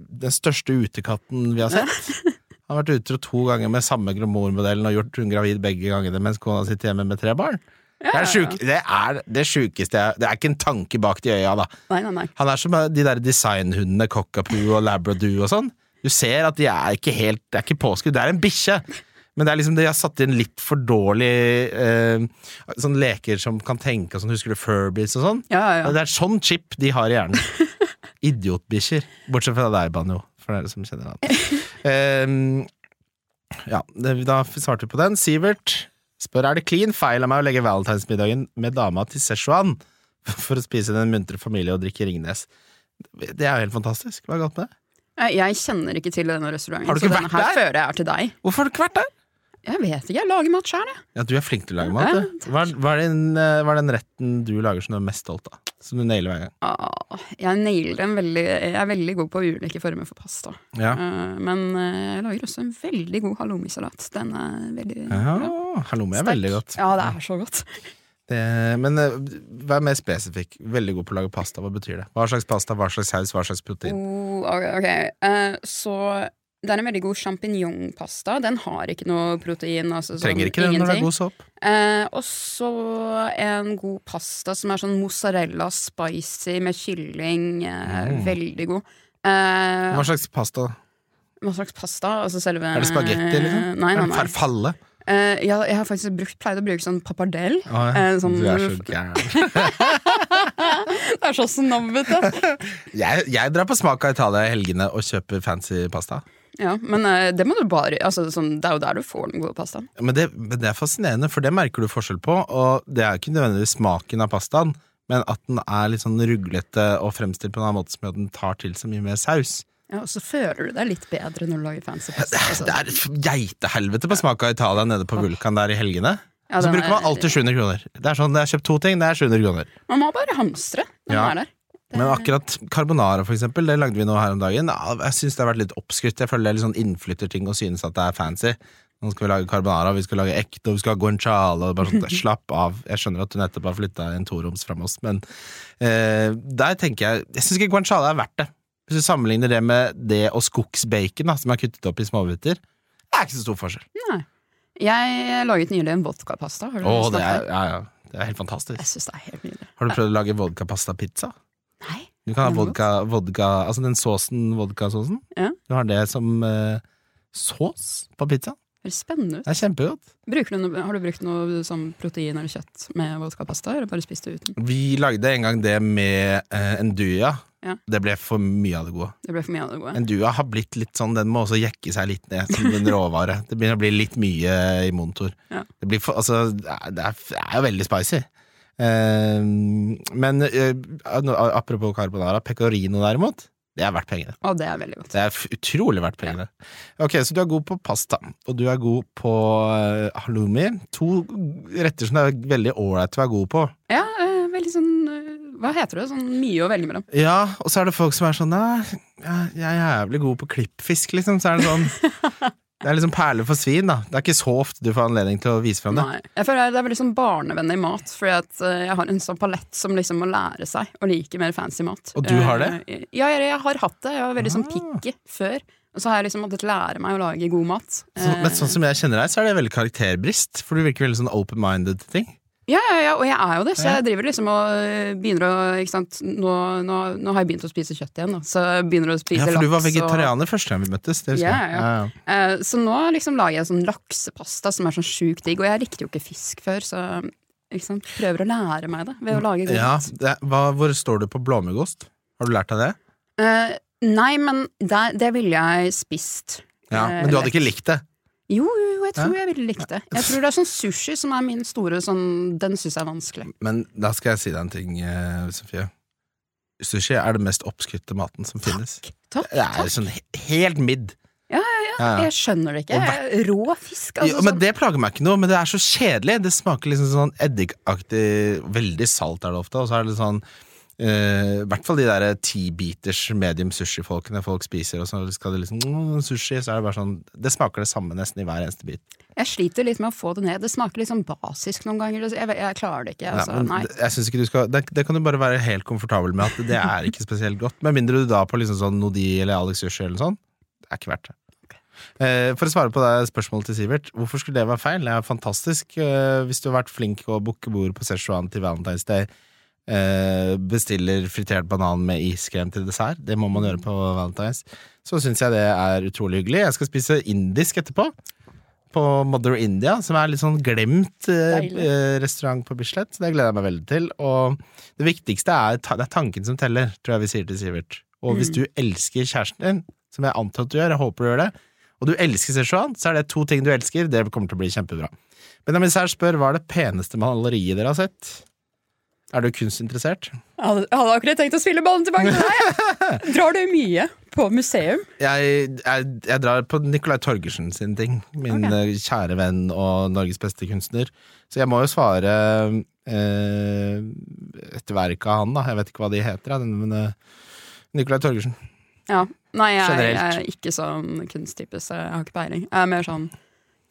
[SPEAKER 2] den største utekatten vi har sett. Han har vært utro to ganger med samme gromormodellen og gjort hun gravid begge gangene mens kona sitter hjemme med tre barn. Det er, sjuk, det er det sjukeste jeg Det er ikke en tanke bak de øya, da.
[SPEAKER 3] Nei, nei, nei.
[SPEAKER 2] Han er som de der designhundene Cockapoo og Labradoo og sånn. Du ser at de er ikke helt Det er ikke påskudd, det er en bikkje. Men det er liksom de har satt inn litt for dårlig eh, sånn leker som kan tenke og sånn. Husker du Furbies og sånn?
[SPEAKER 3] Ja, ja, ja.
[SPEAKER 2] Det er sånn chip de har i hjernen. [laughs] Idiotbikkjer. Bortsett fra deg, Banjo, for dere som kjenner [laughs] han. Ehm, ja, det- da svarte vi på den. Sivert spør er det clean feil av meg å legge valentinsmiddagen med dama til Szechuan for å spise den muntre familie og drikke Ringnes. Det er jo helt fantastisk. Hva er galt med det?
[SPEAKER 3] Jeg- Jeg kjenner ikke til denne restauranten,
[SPEAKER 2] Har du ikke
[SPEAKER 3] så denne
[SPEAKER 2] vært
[SPEAKER 3] her
[SPEAKER 2] der?
[SPEAKER 3] fører jeg er til deg.
[SPEAKER 2] Hvorfor har du ikke vært der?
[SPEAKER 3] Jeg vet ikke, jeg lager mat sjøl, jeg.
[SPEAKER 2] Ja, Du er flink til å lage mat. du. Hva er, hva er, den, eh, hva er den retten du lager som du er mest stolt av? Som du nailer hver gang?
[SPEAKER 3] Ah, Jeg nailer en veldig Jeg er veldig god på ulike former for pasta.
[SPEAKER 2] Ja.
[SPEAKER 3] Eh, Men eh, jeg lager også en veldig god halloumisalat. Den er veldig bra.
[SPEAKER 2] Ja, halloumi er veldig godt.
[SPEAKER 3] Ja, det er så godt.
[SPEAKER 2] Det, men eh, vær mer spesifikk. Veldig god på å lage pasta. Hva betyr det? Hva slags pasta, hva slags saus, hva slags protein?
[SPEAKER 3] Oh, ok, ok. Eh, Så det er en veldig god sjampinjongpasta. Den har ikke noe protein. Altså, sånn,
[SPEAKER 2] Trenger ikke det når det er
[SPEAKER 3] ingenting.
[SPEAKER 2] god såp.
[SPEAKER 3] Eh, og så en god pasta som er sånn mozzarella spicy med kylling. Eh,
[SPEAKER 2] Mm.
[SPEAKER 3] Veldig god. Eh,
[SPEAKER 2] Hva slags pasta?
[SPEAKER 3] hva slags pasta? Altså selve
[SPEAKER 2] Er det spagetti, liksom?
[SPEAKER 3] Nei, nei, nei.
[SPEAKER 2] Farfalle?
[SPEAKER 3] Eh, jeg, jeg har faktisk brukt, pleid å bruke sånn pappardell.
[SPEAKER 2] Å, ja.
[SPEAKER 3] Eh, sånn,
[SPEAKER 2] Du er så gæren.
[SPEAKER 3] [laughs] det er sånn så snobbete!
[SPEAKER 2] Jeg, jeg drar på smak av Italia i helgene og kjøper fancy pasta.
[SPEAKER 3] ja, men eh, det må du bare altså, sånn, Det er jo der du får den gode pastaen.
[SPEAKER 2] Men det, men det er fascinerende, for det merker du forskjell på. Og det er ikke nødvendigvis smaken av pastaen, men at den er litt sånn ruglete og fremstilt på en annen måte som gjør at den tar til seg mye mer saus.
[SPEAKER 3] Ja, og så føler du deg litt bedre når du lager fancy pasta. altså.
[SPEAKER 2] Det er et geitehelvete på smak av Italia nede på Vulkan der i helgene.
[SPEAKER 3] Ja,
[SPEAKER 2] så
[SPEAKER 3] den
[SPEAKER 2] bruker man
[SPEAKER 3] er-
[SPEAKER 2] alltid 700 kroner. Det er sånn, Jeg har kjøpt to ting, det er 700 kroner.
[SPEAKER 3] Man må bare hamstre. Den
[SPEAKER 2] Ja.
[SPEAKER 3] er der.
[SPEAKER 2] Men akkurat carbonara, for eksempel, det lagde vi nå her om dagen. Ja, Jeg syns det har vært litt oppskrytt. Jeg føler det er litt sånn innflytterting å synes at det er fancy. Nå skal vi lage carbonara, vi skal lage ekte, og vi skal ha guanciale og
[SPEAKER 3] [laughs]
[SPEAKER 2] bare sånn, Slapp av. Jeg skjønner at du nettopp har flytta en toroms fra Moss, men eh, der tenker jeg Jeg syns ikke guanciale er verdt det. Hvis du sammenligner det med det og skogsbacon, da, som er kuttet opp i småbiter, det er ikke så stor forskjell.
[SPEAKER 3] Nei. Jeg laget nylig en vodkapasta. Har du
[SPEAKER 2] Å,
[SPEAKER 3] smakt
[SPEAKER 2] det er,
[SPEAKER 3] den?
[SPEAKER 2] ja, ja. det er helt fantastisk.
[SPEAKER 3] Jeg syns det er helt nydelig.
[SPEAKER 2] Har du prøvd å lage vodkapasta-pizza?
[SPEAKER 3] Nei.
[SPEAKER 2] Du kan ha
[SPEAKER 3] Den er
[SPEAKER 2] vodka, vodka Altså den såsen, vodkasåsen.
[SPEAKER 3] Ja.
[SPEAKER 2] Du har det som eh, sås på pizzaen.
[SPEAKER 3] Det høres spennende ut.
[SPEAKER 2] Det er kjempegodt.
[SPEAKER 3] Bruker du noe, har du brukt noe sånn protein eller kjøtt med vodkapasta, eller bare spist det uten?
[SPEAKER 2] Vi lagde en gang det med eh, enduja.
[SPEAKER 3] Ja.
[SPEAKER 2] Det ble for mye av det gode.
[SPEAKER 3] Det ble for mye av det gode.
[SPEAKER 2] Enduja har blitt litt sånn, den må også jekke seg litt ned som
[SPEAKER 3] [laughs]
[SPEAKER 2] en råvare. Det begynner å bli litt mye i monitor.
[SPEAKER 3] Ja.
[SPEAKER 2] Det, blir for, altså, det, er, det er- det er jo veldig spicy. Eh, men eh, nå- apropos carbonara, pecorino derimot, det er verdt pengene.
[SPEAKER 3] Og det er veldig godt.
[SPEAKER 2] Det er f- utrolig verdt pengene. Ok, Så du er god på pasta, og du er god på eh, halloumi. To retter som det er veldig ålreit å være god på.
[SPEAKER 3] Ja, eh, veldig sånn eh, Hva heter det? Sånn mye å velge mellom.
[SPEAKER 2] Ja, og så er det folk som er sånn Nei, jeg jeg er jævlig god på klippfisk, liksom. Så er det sånn [laughs] Det er liksom perler for svin, da. Det er ikke så ofte du får anledning til å vise frem det.
[SPEAKER 3] Nei. Jeg føler det er veldig sånn barnevennlig mat, fordi at eh, jeg har en sånn palett som liksom må lære seg å like mer fancy mat.
[SPEAKER 2] Og du har Ah.
[SPEAKER 3] Eh, Ja, jeg, jeg har hatt det. Jeg var veldig sånn picky før. Og så har jeg liksom måttet lære meg å lage god mat. Eh,
[SPEAKER 2] Så, men sånn som jeg kjenner deg, så er det veldig karakterbrist. For du virker veldig sånn open-minded til ting.
[SPEAKER 3] Ja, ja, ja, og jeg er jo det, så
[SPEAKER 2] Ja.
[SPEAKER 3] jeg driver liksom og øh, begynner å ikke sant? Nå, nå, nå har jeg begynt å spise kjøtt igjen, da. Så jeg begynner å spise
[SPEAKER 2] Ja, for
[SPEAKER 3] laks.
[SPEAKER 2] du var
[SPEAKER 3] og-
[SPEAKER 2] vegetarianer første gang vi møttes. Det husker
[SPEAKER 3] Ja,
[SPEAKER 2] jeg.
[SPEAKER 3] ja. Eh, så nå liksom lager jeg sånn laksepasta som er sånn sjukt digg, og jeg likte jo ikke fisk før, så ikke sant? prøver å lære meg det ved å lage god
[SPEAKER 2] Ja,
[SPEAKER 3] mat.
[SPEAKER 2] det, hva, hvor står du på blåmuggost? Har du lært deg det?
[SPEAKER 3] Eh, nei, men det, det ville jeg spist.
[SPEAKER 2] Ja,
[SPEAKER 3] Eh,
[SPEAKER 2] Men du hadde ikke likt det?
[SPEAKER 3] Jo, jo, jo, jeg tror jeg ville likt det. Jeg tror det er sånn sushi som er min store sånn Den syns jeg er vanskelig.
[SPEAKER 2] Men da skal jeg si deg en ting, eh, Sofie. Sushi er den mest oppskrytte maten som finnes.
[SPEAKER 3] Takk,
[SPEAKER 2] Det er
[SPEAKER 3] takk.
[SPEAKER 2] sånn he- helt midd.
[SPEAKER 3] Ja,
[SPEAKER 2] Ja, ja.
[SPEAKER 3] Jeg skjønner det ikke.
[SPEAKER 2] Og
[SPEAKER 3] Jeg- Rå fisk, altså.
[SPEAKER 2] Jo, men Det plager meg ikke noe, men det er så kjedelig. Det smaker liksom sånn eddikaktig Veldig salt er det ofte, og så er det litt sånn eh, I hvert fall de der ti-biters medium sushi-folkene folk spiser, og så skal det liksom mm, Sushi, så er det bare sånn Det smaker det samme nesten i hver eneste bit.
[SPEAKER 3] Jeg sliter litt med å få det ned. Det smaker litt sånn basisk noen ganger. Jeg, vet- jeg klarer det ikke.
[SPEAKER 2] Ja,
[SPEAKER 3] Altså.
[SPEAKER 2] men
[SPEAKER 3] Nei.
[SPEAKER 2] det- jeg synes ikke du skal det, det kan du bare være helt komfortabel med, at det er ikke spesielt godt. Med mindre du da på liksom sånn Nodi eller Alex Jussi eller noe sånt. Det er ikke verdt det. Eh, For å svare på det spørsmålet til Sivert, hvorfor skulle det være feil? Det er fantastisk eh, hvis du har vært flink og booker bord på Szechuan til Valentine's Day. eh, Bestiller fritert banan med iskrem til dessert. Det må man gjøre på Valentine's. Så syns jeg det er utrolig hyggelig. Jeg skal spise indisk etterpå. På Mother India, som er litt sånn glemt eh,
[SPEAKER 3] Deilig.
[SPEAKER 2] eh, restaurant på Bislett. Så det gleder jeg meg veldig til. Og det viktigste er, ta- det er tanken som teller, tror jeg vi sier til Sivert. Og hvis du elsker kjæresten din, som jeg antar at du gjør, jeg håper du gjør det, og du elsker Sichuan, så er det to ting du elsker. Det kommer til å bli kjempebra. Benjamin Sær spør hva er det peneste maleriet dere har sett? Er du kunstinteressert?
[SPEAKER 3] Jeg hadde jeg hadde akkurat tenkt å spille ballen tilbake til deg!
[SPEAKER 2] [laughs]
[SPEAKER 3] jeg. Drar du mye på museum?
[SPEAKER 2] Jeg, jeg, jeg drar på Nicolai Torgersen sin ting. Min eh, kjære venn og Norges beste kunstner. Så jeg må jo svare eh, et verk av han, da. Jeg vet ikke hva de heter, ja, den- men eh, Nicolai Torgersen.
[SPEAKER 3] Ja. Nei, jeg, jeg
[SPEAKER 2] Generelt.
[SPEAKER 3] er ikke sånn kunsttype, så jeg har ikke peiling. Jeg er mer sånn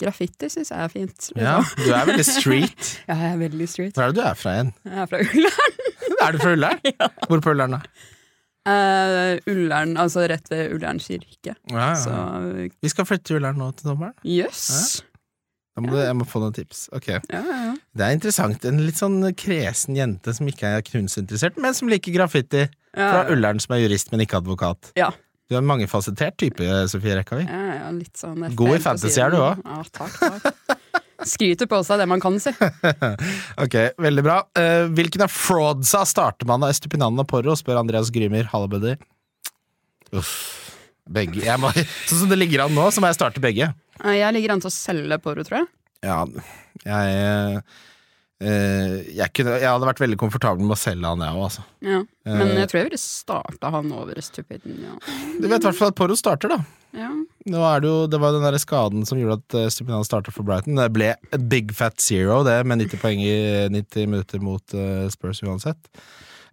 [SPEAKER 3] Graffiti syns jeg er fint. liksom.
[SPEAKER 2] Ja, du er veldig [laughs] street.
[SPEAKER 3] Ja, jeg er veldig street.
[SPEAKER 2] Hvor er det du er fra igjen?
[SPEAKER 3] Jeg er fra Ullern. [laughs]
[SPEAKER 2] Er du fra [laughs] Ullern? Hvor på Ullern, da?
[SPEAKER 3] Eh, Ullern, altså rett ved Ullern kirke.
[SPEAKER 2] Ja,
[SPEAKER 3] Så
[SPEAKER 2] ja. Vi skal flytte til Ullern nå til sommeren.
[SPEAKER 3] jøss.
[SPEAKER 2] Da må du, jeg må få noen tips. Ok
[SPEAKER 3] Ja, ja, ja.
[SPEAKER 2] Det er interessant. En litt sånn kresen jente som ikke er kunstinteressert, men som liker graffiti. Fra
[SPEAKER 3] Ja,
[SPEAKER 2] Ullern, som er jurist, men ikke advokat.
[SPEAKER 3] Ja.
[SPEAKER 2] Du er en mangefasettert type, Sofie Rekkavik.
[SPEAKER 3] ja, ja, litt sånn
[SPEAKER 2] God i
[SPEAKER 3] FPL på
[SPEAKER 2] fantasy
[SPEAKER 3] siden.
[SPEAKER 2] er du også.
[SPEAKER 3] Ja, takk, takk. Skryter på seg det man kan si.
[SPEAKER 2] Ok, veldig bra. Eh, hvilken av fraudsa starter man av Estupinan og Porro, spør Andreas Grymer. Halla, buddy. Uff. Begge. Jeg må, [laughs] sånn som det ligger an nå, så må jeg starte begge.
[SPEAKER 3] Eh, Jeg ligger an til å selge Poro, tror jeg.
[SPEAKER 2] Ja, jeg eh, jeg, kunne, jeg hadde vært veldig komfortabel med å selge han, jeg òg, altså.
[SPEAKER 3] Ja. Men
[SPEAKER 2] Eh.
[SPEAKER 3] jeg tror jeg ville starta han over stupiden. Ja.
[SPEAKER 2] Du vet i hvert fall at Porro starter, da.
[SPEAKER 3] Ja.
[SPEAKER 2] Nå er det jo, det var den der skaden som gjorde at eh, Stupinan startet for Brighton. Det ble a big fat zero, det, med 90 poeng i 90 minutter mot eh, Spurs uansett.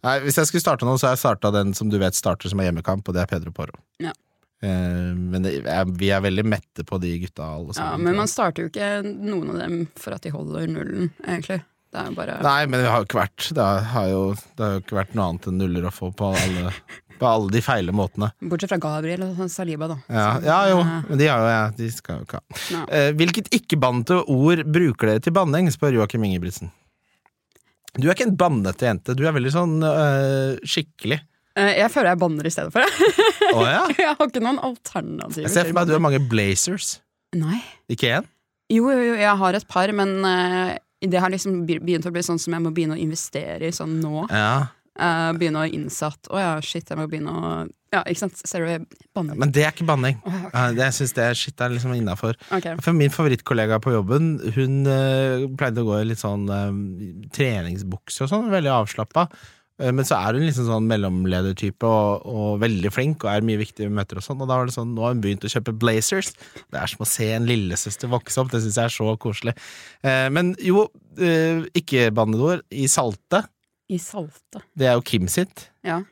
[SPEAKER 2] Nei, Hvis jeg skulle starte noe, så har jeg starta den som du vet starter som er hjemmekamp, og det er Pedro Porro.
[SPEAKER 3] Ja.
[SPEAKER 2] Eh, men det, jeg, vi er veldig mette på de gutta, alle
[SPEAKER 3] ja,
[SPEAKER 2] sammen.
[SPEAKER 3] men man starter jo ikke noen av dem for at de holder nullen, egentlig. Det er jo bare
[SPEAKER 2] Nei, men det har jo ikke vært Det har jo, det har jo ikke vært noe annet enn nuller å få på
[SPEAKER 3] [laughs]
[SPEAKER 2] alle, på alle de feile måtene.
[SPEAKER 3] Bortsett fra Gabriel og sånn Saliba, da.
[SPEAKER 2] Ja,
[SPEAKER 3] Så-
[SPEAKER 2] ja jo,
[SPEAKER 3] Ja.
[SPEAKER 2] men de, har jo, ja, de skal jo ikke ha.
[SPEAKER 3] Ja.
[SPEAKER 2] Eh, hvilket ikke-bannete ord bruker dere til banning, spør Joakim Ingebrigtsen. Du er ikke en bannete jente, du er veldig sånn eh,
[SPEAKER 3] [laughs]
[SPEAKER 2] skikkelig.
[SPEAKER 3] Eh, Jeg føler jeg banner i stedet for det. [laughs]
[SPEAKER 2] Å ja?
[SPEAKER 3] Jeg har ikke noen alternativer.
[SPEAKER 2] Jeg ser for
[SPEAKER 3] til
[SPEAKER 2] meg at du
[SPEAKER 3] banning.
[SPEAKER 2] har mange blazers.
[SPEAKER 3] Nei.
[SPEAKER 2] Ikke én?
[SPEAKER 3] Jo, jo, jo, jeg har et par, men eh, det har liksom be- begynt å bli sånn som jeg må begynne å investere i sånn nå.
[SPEAKER 2] Ja.
[SPEAKER 3] Eh, Begynne å innsatt Å ja, shit, jeg må begynne å Ja, ikke sant. Ser du, jeg banner.
[SPEAKER 2] Men det er ikke banning.
[SPEAKER 3] Åh,
[SPEAKER 2] Ja, det- Jeg syns det er shit er liksom innafor.
[SPEAKER 3] ok.
[SPEAKER 2] For min favorittkollega på jobben, hun eh, pleide å gå i litt sånn eh, treningsbukse og sånn, veldig avslappa. Eh, men så er hun liksom sånn mellomledertype og, og veldig flink og er mye viktig i møter og sånn. Og da var det sånn, nå har hun begynt å kjøpe blazers. Det er som å se en lillesøster vokse opp, det syns jeg er så koselig. Eh, men jo, eh, ikke banneord i salte.
[SPEAKER 3] I salte.
[SPEAKER 2] Det er jo Kim sitt.
[SPEAKER 3] Ja.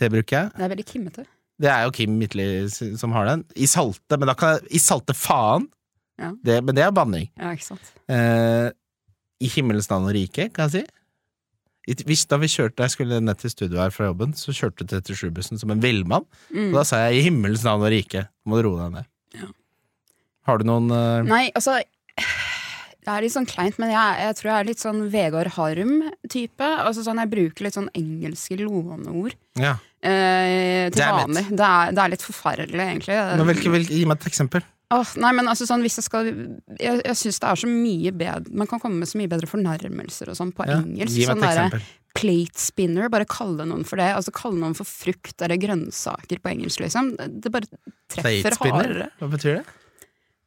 [SPEAKER 2] Det bruker jeg.
[SPEAKER 3] Det er veldig kimmete.
[SPEAKER 2] Det er jo Kim Midtly s- som har den. I salte, men da kan jeg I salte faen!
[SPEAKER 3] Ja.
[SPEAKER 2] Det, men det er banning.
[SPEAKER 3] Ja, ikke sant.
[SPEAKER 2] Eh, I himmelens navn og rike, kan jeg si. I- Hvis da vi kjørte, Jeg skulle ned til studio her fra jobben, så kjørte 37-bussen som en villmann.
[SPEAKER 3] Mm.
[SPEAKER 2] Og da sa jeg 'i himmelens navn og rike'. Nå Må du roe deg ned.
[SPEAKER 3] Ja.
[SPEAKER 2] Har du noen eh,
[SPEAKER 3] Nei, altså Det er litt sånn kleint, men jeg, jeg tror jeg er litt sånn Vegard Harm-type. Altså sånn, Jeg bruker litt sånn engelske låneord
[SPEAKER 2] Ja.
[SPEAKER 3] eh, til
[SPEAKER 2] Damn it.
[SPEAKER 3] vanlig. Det er, det er litt forferdelig, egentlig.
[SPEAKER 2] Men hvilke, hvilke, gi meg et eksempel.
[SPEAKER 3] Åh, nei, men altså sånn, hvis jeg skal Jeg, jeg syns det er så mye bedre Man kan komme med så mye bedre fornærmelser og sånn på
[SPEAKER 2] Ja,
[SPEAKER 3] engelsk.
[SPEAKER 2] Gi meg
[SPEAKER 3] Sånn
[SPEAKER 2] et
[SPEAKER 3] derre
[SPEAKER 2] eksempel.
[SPEAKER 3] plate spinner, bare kalle noen for det. Altså Kalle noen for frukt eller grønnsaker på engelsk, liksom. Det bare
[SPEAKER 2] Plate
[SPEAKER 3] treffer hardere.
[SPEAKER 2] spinner? Hva betyr det?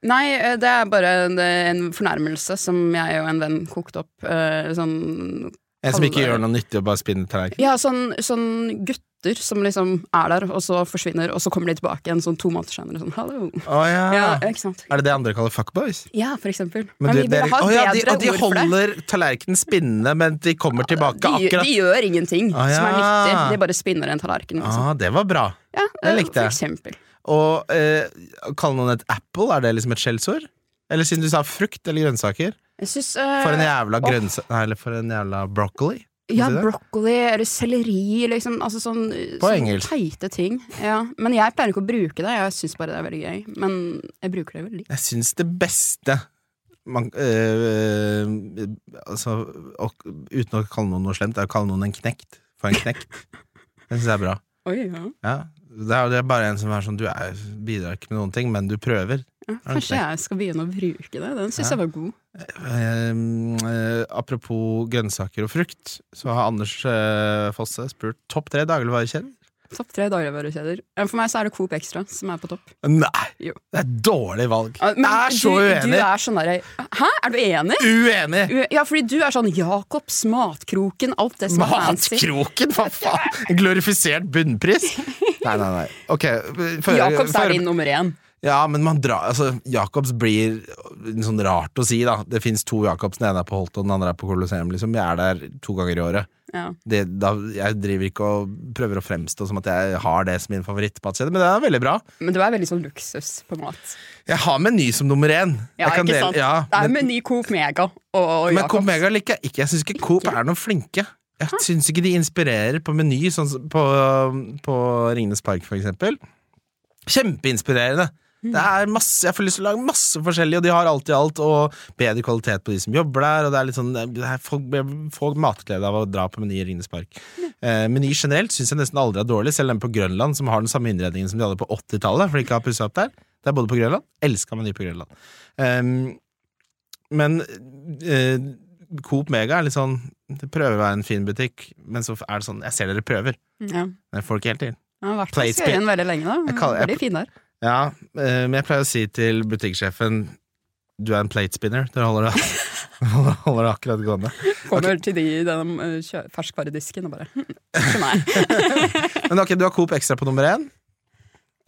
[SPEAKER 3] Nei, eh, det er bare en, en fornærmelse som jeg og en venn kokte opp. eh, Sånn,
[SPEAKER 2] En som ikke
[SPEAKER 3] Alle-
[SPEAKER 2] gjør noe nyttig og bare spinner
[SPEAKER 3] [laughs]
[SPEAKER 2] tallerken?
[SPEAKER 3] ja, sånn, sånn gutter som liksom er der, og så forsvinner, og så kommer de tilbake igjen sånn to måneder senere. Sånn, hallo.
[SPEAKER 2] Å ja.
[SPEAKER 3] Ja, ikke sant.
[SPEAKER 2] Er det det andre kaller fuckboys?
[SPEAKER 3] Ja, for eksempel.
[SPEAKER 2] Men
[SPEAKER 3] Men,
[SPEAKER 2] du,
[SPEAKER 3] vi
[SPEAKER 2] dere-
[SPEAKER 3] burde ha
[SPEAKER 2] Å
[SPEAKER 3] bedre
[SPEAKER 2] ja, de, og de
[SPEAKER 3] ord for det.
[SPEAKER 2] holder tallerkenen spinnende, men de kommer tilbake
[SPEAKER 3] De,
[SPEAKER 2] akkurat
[SPEAKER 3] de gjør ingenting
[SPEAKER 2] Ah,
[SPEAKER 3] som er
[SPEAKER 2] ja.
[SPEAKER 3] nyttig. De bare spinner en tallerken. Liksom.
[SPEAKER 2] ah, Det var bra.
[SPEAKER 3] ja,
[SPEAKER 2] det
[SPEAKER 3] eh,
[SPEAKER 2] likte jeg.
[SPEAKER 3] For eksempel.
[SPEAKER 2] Og eh, å kalle noen et apple, er det liksom et skjellsord? Eller siden du sa frukt eller grønnsaker?
[SPEAKER 3] Jeg eh, syns
[SPEAKER 2] For en jævla
[SPEAKER 3] åh.
[SPEAKER 2] grønnsa... Nei, eller for en jævla broccoli.
[SPEAKER 3] ja,
[SPEAKER 2] si det?
[SPEAKER 3] broccoli eller selleri, liksom. Altså sånn,
[SPEAKER 2] På
[SPEAKER 3] sånn
[SPEAKER 2] engelsk.
[SPEAKER 3] teite ting. Ja. Men jeg pleier ikke å bruke det. Jeg syns bare det er veldig gøy. Men jeg bruker det veldig.
[SPEAKER 2] Jeg syns det beste man, øh, øh, altså, og, Uten å kalle noen noe slemt, er å kalle noen en knekt. For en knekt. Det syns jeg er bra.
[SPEAKER 3] Oi, ja.
[SPEAKER 2] Ja. Det er, det er bare en som er sånn Du er, bidrar ikke med noen ting, men du prøver.
[SPEAKER 3] Ja, kanskje jeg skal begynne å bruke det. Den syns
[SPEAKER 2] Ja.
[SPEAKER 3] jeg var god.
[SPEAKER 2] Ehm, eh, apropos grønnsaker og frukt, så har Anders eh, Fosse spurt topp tre dagligvarekjeder.
[SPEAKER 3] Topp tre dagligvarekjeder. Eh, For meg så er det Coop Extra som er på topp.
[SPEAKER 2] Nei!
[SPEAKER 3] Jo.
[SPEAKER 2] Det er et dårlig valg.
[SPEAKER 3] Ah, men
[SPEAKER 2] jeg er så
[SPEAKER 3] du, Du
[SPEAKER 2] uenig!
[SPEAKER 3] er sånn derre Hæ, er du enig?
[SPEAKER 2] Uenig!
[SPEAKER 3] U- Ja, fordi du er sånn Jacobs, Matkroken, alt det som er fancy.
[SPEAKER 2] Matkroken, hva faen? En glorifisert bunnpris? Nei, nei, nei. Ok, for,
[SPEAKER 3] Jacobs
[SPEAKER 2] for-
[SPEAKER 3] er din nummer én.
[SPEAKER 2] Ja, men man drar Altså, Jacobs blir en sånn rart å si, da. Det fins to Jacobs, den ene er på Holt og den andre er på Colosseum, liksom. Jeg er der to ganger i året.
[SPEAKER 3] Ja.
[SPEAKER 2] Det, da, jeg driver ikke og prøver å fremstå som at jeg har det som min favorittmatkjede, men det er veldig bra.
[SPEAKER 3] Men du er veldig sånn luksus på mat.
[SPEAKER 2] Jeg har Meny som nummer én.
[SPEAKER 3] Ja,
[SPEAKER 2] jeg kan
[SPEAKER 3] ikke
[SPEAKER 2] dele-
[SPEAKER 3] sant?
[SPEAKER 2] Ja,
[SPEAKER 3] det er
[SPEAKER 2] men,
[SPEAKER 3] med ny Coop Mega og, og
[SPEAKER 2] men Coop
[SPEAKER 3] Jacobs.
[SPEAKER 2] Mega liker jeg ikke. Jeg syns ikke Coop er noen flinke. Jeg syns ikke de inspirerer på Meny, sånn som på, på Ringenes park, for eksempel. Kjempeinspirerende. Det er masse, jeg får lyst til å lage masse forskjellig, og de har alt i alt, og bedre kvalitet på de som jobber der. Og det er litt sånn, det er folk får matglede av å dra på Meny i Ringenes park. Eh, meny generelt syns jeg nesten aldri er dårlig, selv den på Grønland, som har den samme innredningen som de hadde på 80-tallet, for de ikke har pussa opp der. Det er både på Grønland. Elska Meny på Grønland. Ehm, men eh, Coop Mega er litt sånn Det prøver å være en fin butikk, men så er det sånn Jeg ser dere prøver,
[SPEAKER 3] Ja.
[SPEAKER 2] men jeg får ikke helt til.
[SPEAKER 3] Jeg har vært på
[SPEAKER 2] Plate spin-
[SPEAKER 3] Skøyen veldig lenge, da.
[SPEAKER 2] Jeg kaller-
[SPEAKER 3] veldig fin der.
[SPEAKER 2] Ja, eh, men jeg pleier å si til butikksjefen Du er en plate spinner. Dere holder det, holder, [laughs] holder det akkurat gående.
[SPEAKER 3] Kommer til de i den eh, kjø- ferskvaredisken og bare [laughs] hm, ikke meg.
[SPEAKER 2] [laughs] Men ok, du har Coop Extra på nummer én.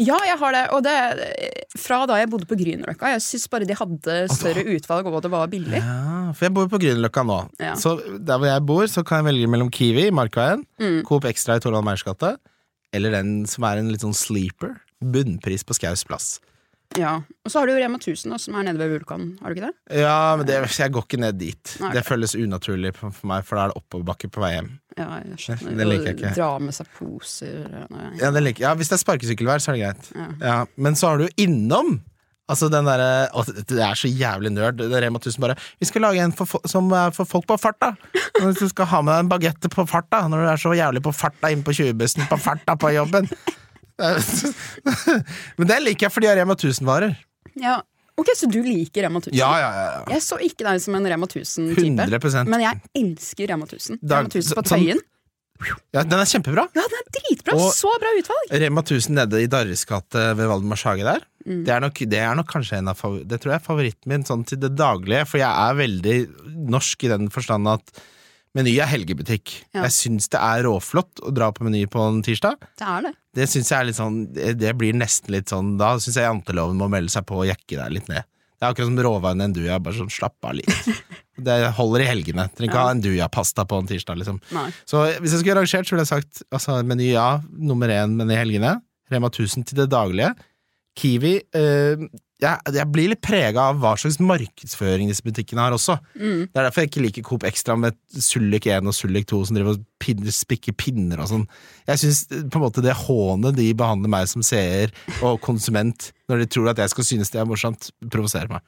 [SPEAKER 3] Ja, jeg har det. Og det eh, fra da jeg bodde på Grünerløkka. Jeg syns bare de hadde større utvalg, og det var billig.
[SPEAKER 2] Ja, for jeg bor på Grünerløkka nå.
[SPEAKER 3] Ja.
[SPEAKER 2] Så der hvor jeg bor, så kan jeg velge mellom Kiwi i Markveien,
[SPEAKER 3] Mm.
[SPEAKER 2] Coop Extra i Torvald Meyers gate, eller den som er en litt sånn sleeper. Bunnpris på Skaus plass.
[SPEAKER 3] Ja. Og så har du jo Rema 1000, da, som er nede ved Vulkanen. Har du ikke det?
[SPEAKER 2] Ja, men det, jeg går ikke ned dit.
[SPEAKER 3] Nei,
[SPEAKER 2] Det
[SPEAKER 3] ok.
[SPEAKER 2] føles unaturlig for for meg, for da er det oppoverbakke på vei hjem.
[SPEAKER 3] Ja, jeg skjønner.
[SPEAKER 2] det liker jeg
[SPEAKER 3] Og
[SPEAKER 2] ikke.
[SPEAKER 3] Dra med seg poser ja, nei.
[SPEAKER 2] Ja, det liker. ja Hvis det er sparkesykkelvær, så er det greit.
[SPEAKER 3] Ja.
[SPEAKER 2] Ja, men så har du jo innom Altså den derre å, Det er så jævlig nerd. Det er Rema 1000 bare 'Vi skal lage en for, fo- som er for folk på farta'. Hvis du skal ha med deg en bagette på farta når du er så jævlig på farta inne på 20-bussen på farta på jobben. [laughs] Men det liker jeg, for de har Rema 1000-varer.
[SPEAKER 3] Ja. Ok, så du liker Rema 1000?
[SPEAKER 2] Ja, ja, ja. ja.
[SPEAKER 3] Jeg så ikke deg som en Rema 1000-type.
[SPEAKER 2] 100
[SPEAKER 3] Men jeg elsker Rema 1000.
[SPEAKER 2] Dag-
[SPEAKER 3] Rema 1000 på
[SPEAKER 2] så- sånn-
[SPEAKER 3] Tøyen.
[SPEAKER 2] ja, Den er kjempebra.
[SPEAKER 3] Ja, den er dritbra!
[SPEAKER 2] Og-
[SPEAKER 3] så bra utvalg!
[SPEAKER 2] Rema 1000 nede i Darres gate ved Valdemars hage der. Det, er nok, det er nok kanskje en av favor- Det tror jeg er favoritten min sånn til det daglige, for jeg er veldig norsk i den forstand at Meny er helgebutikk.
[SPEAKER 3] Ja.
[SPEAKER 2] Jeg syns det er råflott å dra på Meny på en tirsdag.
[SPEAKER 3] Det er det.
[SPEAKER 2] Det synes jeg er litt sånn Det det blir nesten litt sånn Da syns jeg janteloven må melde seg på og jekke deg litt ned. Det er akkurat som råvarene enduja, bare sånn slapp av litt. Det holder i helgene. Trenger ikke ha enduja-pasta på en tirsdag, liksom.
[SPEAKER 3] Nei.
[SPEAKER 2] Så hvis jeg skulle rangert, så ville jeg sagt altså, meny ja, nummer én meny helgene. Rema 1000 til det daglige. Kiwi eh, jeg, jeg blir litt prega av hva slags markedsføring disse butikkene har også.
[SPEAKER 3] Mm.
[SPEAKER 2] Det er derfor jeg ikke liker Coop Extra med Sullik 1 og Sullik 2 som driver og pin- spikker pinner og sånn. Jeg syns på en måte det hånet de behandler meg som seer og konsument når de tror at jeg skal synes det er morsomt, provoserer meg.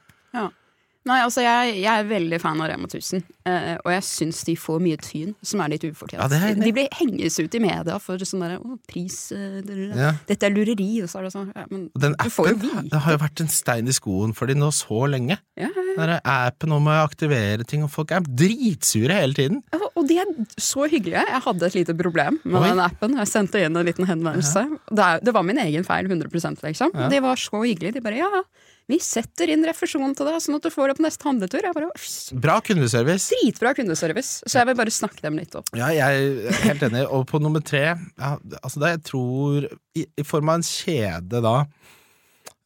[SPEAKER 3] Nei, altså jeg, jeg er veldig fan av Rema 1000, eh, og jeg syns de får mye tyn som er litt ufortjent.
[SPEAKER 2] Ja, det er jeg enig i.
[SPEAKER 3] de blir henges ut i media for sånn derre «Å, pris eh, det-
[SPEAKER 2] Ja.
[SPEAKER 3] Dette er lureri, og så er det sånn. Ja, men
[SPEAKER 2] Og den
[SPEAKER 3] Du får jo
[SPEAKER 2] appen
[SPEAKER 3] vite.
[SPEAKER 2] det har jo vært en stein i skoen for de nå så lenge.
[SPEAKER 3] ja,
[SPEAKER 2] Den der appen om å aktivere ting, og folk er dritsure hele tiden.
[SPEAKER 3] Ja, Og de er så hyggelige. Jeg hadde et lite problem med
[SPEAKER 2] Oi.
[SPEAKER 3] den appen. Jeg sendte inn en liten henvendelse. Det, er, det var min egen feil, 100 liksom.
[SPEAKER 2] Ja.
[SPEAKER 3] De var så hyggelige. De bare ja, vi setter inn refusjon til deg, sånn at du får det på neste handletur. Jeg bare, «Pff,
[SPEAKER 2] Bra kundeservice.
[SPEAKER 3] Dritbra kundeservice. Så jeg vil bare snakke dem litt opp.
[SPEAKER 2] Ja, jeg er helt enig. Og på nummer tre, ja, altså da jeg tror i, I form av en kjede, da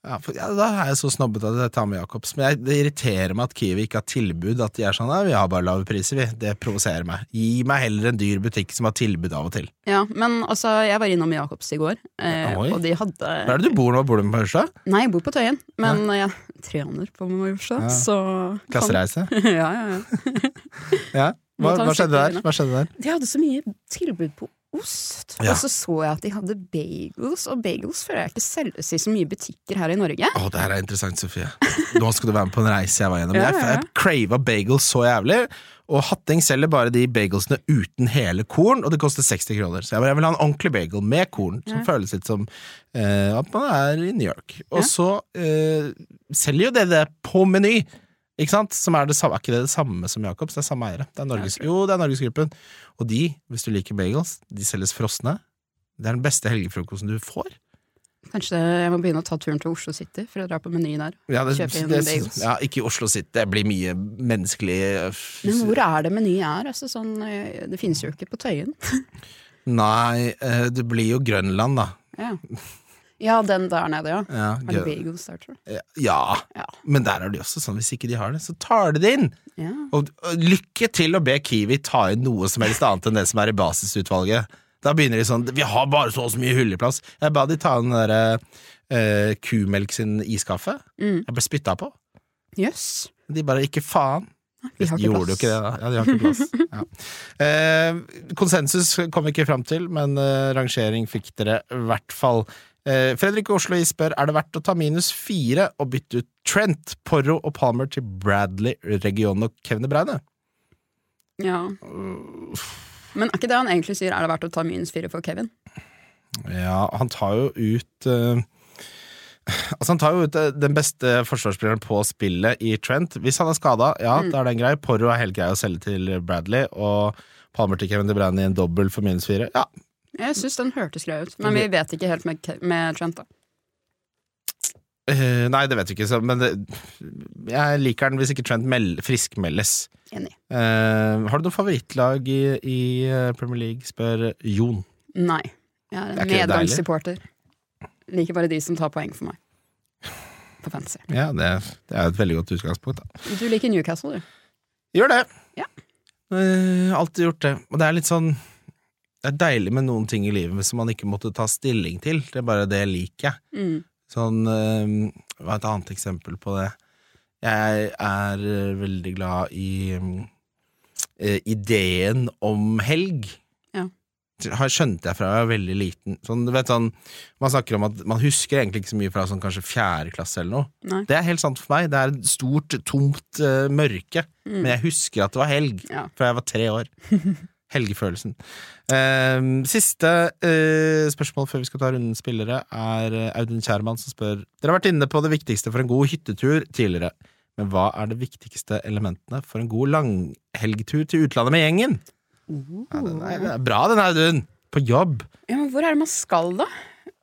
[SPEAKER 2] ja, for, ja, Da er jeg så snobbete at jeg tar med Jacobs. Men jeg, det irriterer meg at Kiwi ikke har tilbud. At de er sånn ja, 'vi har bare lave priser', vi. Det provoserer meg. Gi meg heller en dyr butikk som har tilbud av og til.
[SPEAKER 3] Ja, men altså, jeg var innom Jacobs i går, eh,
[SPEAKER 2] Oi.
[SPEAKER 3] og de hadde
[SPEAKER 2] Hvor er det du bor nå? Bor du på Ørsta?
[SPEAKER 3] Nei, jeg bor på Tøyen, men jeg trener på Majorstua,
[SPEAKER 2] Ja.
[SPEAKER 3] så
[SPEAKER 2] Klassereise?
[SPEAKER 3] Kan, [laughs] ja, ja, ja.
[SPEAKER 2] Ja. Hva,
[SPEAKER 3] Må ta en
[SPEAKER 2] hva skjedde
[SPEAKER 3] stikk
[SPEAKER 2] der? Hva skjedde der?
[SPEAKER 3] De hadde så mye tilbud på ost,
[SPEAKER 2] Ja.
[SPEAKER 3] og så så jeg at de hadde bagels, og bagels føler jeg ikke selges i så mye butikker her i Norge.
[SPEAKER 2] Å, det her er interessant, Sofie. Nå skal du være med på en reise jeg var gjennom.
[SPEAKER 3] Ja,
[SPEAKER 2] Jeg,
[SPEAKER 3] ja, ja.
[SPEAKER 2] jeg crava bagels så jævlig, og Hatting selger bare de bagelsene uten hele korn, og det koster 60 kroner. Så jeg, bare, jeg vil ha en ordentlig bagel med korn, som
[SPEAKER 3] Ja.
[SPEAKER 2] føles litt som eh, at man er i New York. Og
[SPEAKER 3] Ja.
[SPEAKER 2] så eh, selger jo det det på Meny. Ikke sant? Som er, det samme, er ikke det det samme som Jacobs? Det er samme eiere. Det er Norges, jo, det er Norgesgruppen. Og de, hvis du liker bagels, de selges frosne. Det er den beste helgefrokosten du får.
[SPEAKER 3] Kanskje jeg må begynne å ta turen til Oslo City for å dra på Meny der.
[SPEAKER 2] Ja, det,
[SPEAKER 3] Kjøpe inn
[SPEAKER 2] det,
[SPEAKER 3] bagels.
[SPEAKER 2] ja, ikke i Oslo City. Det blir mye menneskelig eh, f-
[SPEAKER 3] Men hvor er det Meny er? Altså, sånn, eh, det finnes jo ikke på Tøyen.
[SPEAKER 2] Nei, eh, det blir jo Grønland, da.
[SPEAKER 3] Ja, ja den der nede, ja.
[SPEAKER 2] Ja,
[SPEAKER 3] Er det
[SPEAKER 2] Grøn-
[SPEAKER 3] bagels der, tror du?
[SPEAKER 2] ja.
[SPEAKER 3] Ja.
[SPEAKER 2] men der er det jo også sånn hvis ikke de har det, så tar de det inn!
[SPEAKER 3] ja.
[SPEAKER 2] Og, og lykke til å be Kiwi ta inn noe som helst annet enn det som er i basisutvalget. Da begynner de sånn 'Vi har bare så og så mye hylleplass'. Jeg ba de ta inn den derre eh, Kumelk sin iskaffe.
[SPEAKER 3] Mm.
[SPEAKER 2] Jeg ble spytta på.
[SPEAKER 3] Jøss.
[SPEAKER 2] De bare 'ikke faen'.
[SPEAKER 3] Vi har ikke
[SPEAKER 2] Gjorde
[SPEAKER 3] plass.
[SPEAKER 2] jo ikke det, da. Ja, de har ikke plass. Ja. Eh, konsensus kom vi ikke fram til, men eh, rangering fikk dere i hvert fall. Eh, Fredrik Oslo spør er det verdt å ta minus fire og bytte ut Trent, Porro og Palmer til Bradley, Region og Kevin De Bruyne?
[SPEAKER 3] Ja. Men er ikke det han egentlig sier, er det verdt å ta minus fire for Kevin?
[SPEAKER 2] Ja, han tar jo ut eh, [sighs] Altså Han tar jo ut eh, den beste forsvarsspilleren på spillet i Trent. Hvis han er skada, ja,
[SPEAKER 3] Mm.
[SPEAKER 2] da er den grei. Porro er helt grei å selge til Bradley. Og Palmer til Kevin De Bruyne i en dobbel for minus fire. Ja,
[SPEAKER 3] Jeg syns den hørtes grei ut, men vi vet ikke helt med, Ke- med Trent, da.
[SPEAKER 2] Eh, nei, det vet vi ikke, så, men det, jeg liker den hvis ikke Trent meld, friskmeldes.
[SPEAKER 3] Enig.
[SPEAKER 2] Eh, har du noe favorittlag i, i eh, Premier League, spør Jon.
[SPEAKER 3] Nei. Jeg
[SPEAKER 2] Er
[SPEAKER 3] er en
[SPEAKER 2] ikke det deilig?
[SPEAKER 3] medgangssupporter. Liker bare de som tar poeng for meg. På fantasy.
[SPEAKER 2] Ja, det, det er jo et veldig godt utgangspunkt, da.
[SPEAKER 3] Du liker Newcastle, du.
[SPEAKER 2] Gjør det!
[SPEAKER 3] Ja.
[SPEAKER 2] Eh, alltid gjort det. Og det er litt sånn Det er deilig med noen ting i livet som man ikke måtte ta stilling til. Det er bare det jeg liker.
[SPEAKER 3] Mm.
[SPEAKER 2] Sånn eh, Hva er et annet eksempel på det? Jeg er eh, veldig glad i eh, ideen om helg.
[SPEAKER 3] Ja.
[SPEAKER 2] Har skjønte jeg fra jeg var veldig liten. Sånn, du vet, sånn, man snakker om at man husker egentlig ikke så mye fra sånn, kanskje fjerde klasse eller noe.
[SPEAKER 3] Nei.
[SPEAKER 2] Det er helt sant for meg. Det er et stort, tomt eh, mørke.
[SPEAKER 3] Mm.
[SPEAKER 2] Men jeg husker at det var helg
[SPEAKER 3] Ja.
[SPEAKER 2] fra jeg var tre år. Helgefølelsen. Ehm, siste eh, spørsmål før vi skal ta runden spillere, er eh, Audun Kjærmann som spør Dere har vært inne på det viktigste for en god hyttetur tidligere, men hva er det viktigste elementene for en god langhelgetur til utlandet med gjengen? Ja, den, er, den er bra, den, Audun! På jobb.
[SPEAKER 3] Ja, men hvor er det man skal, da?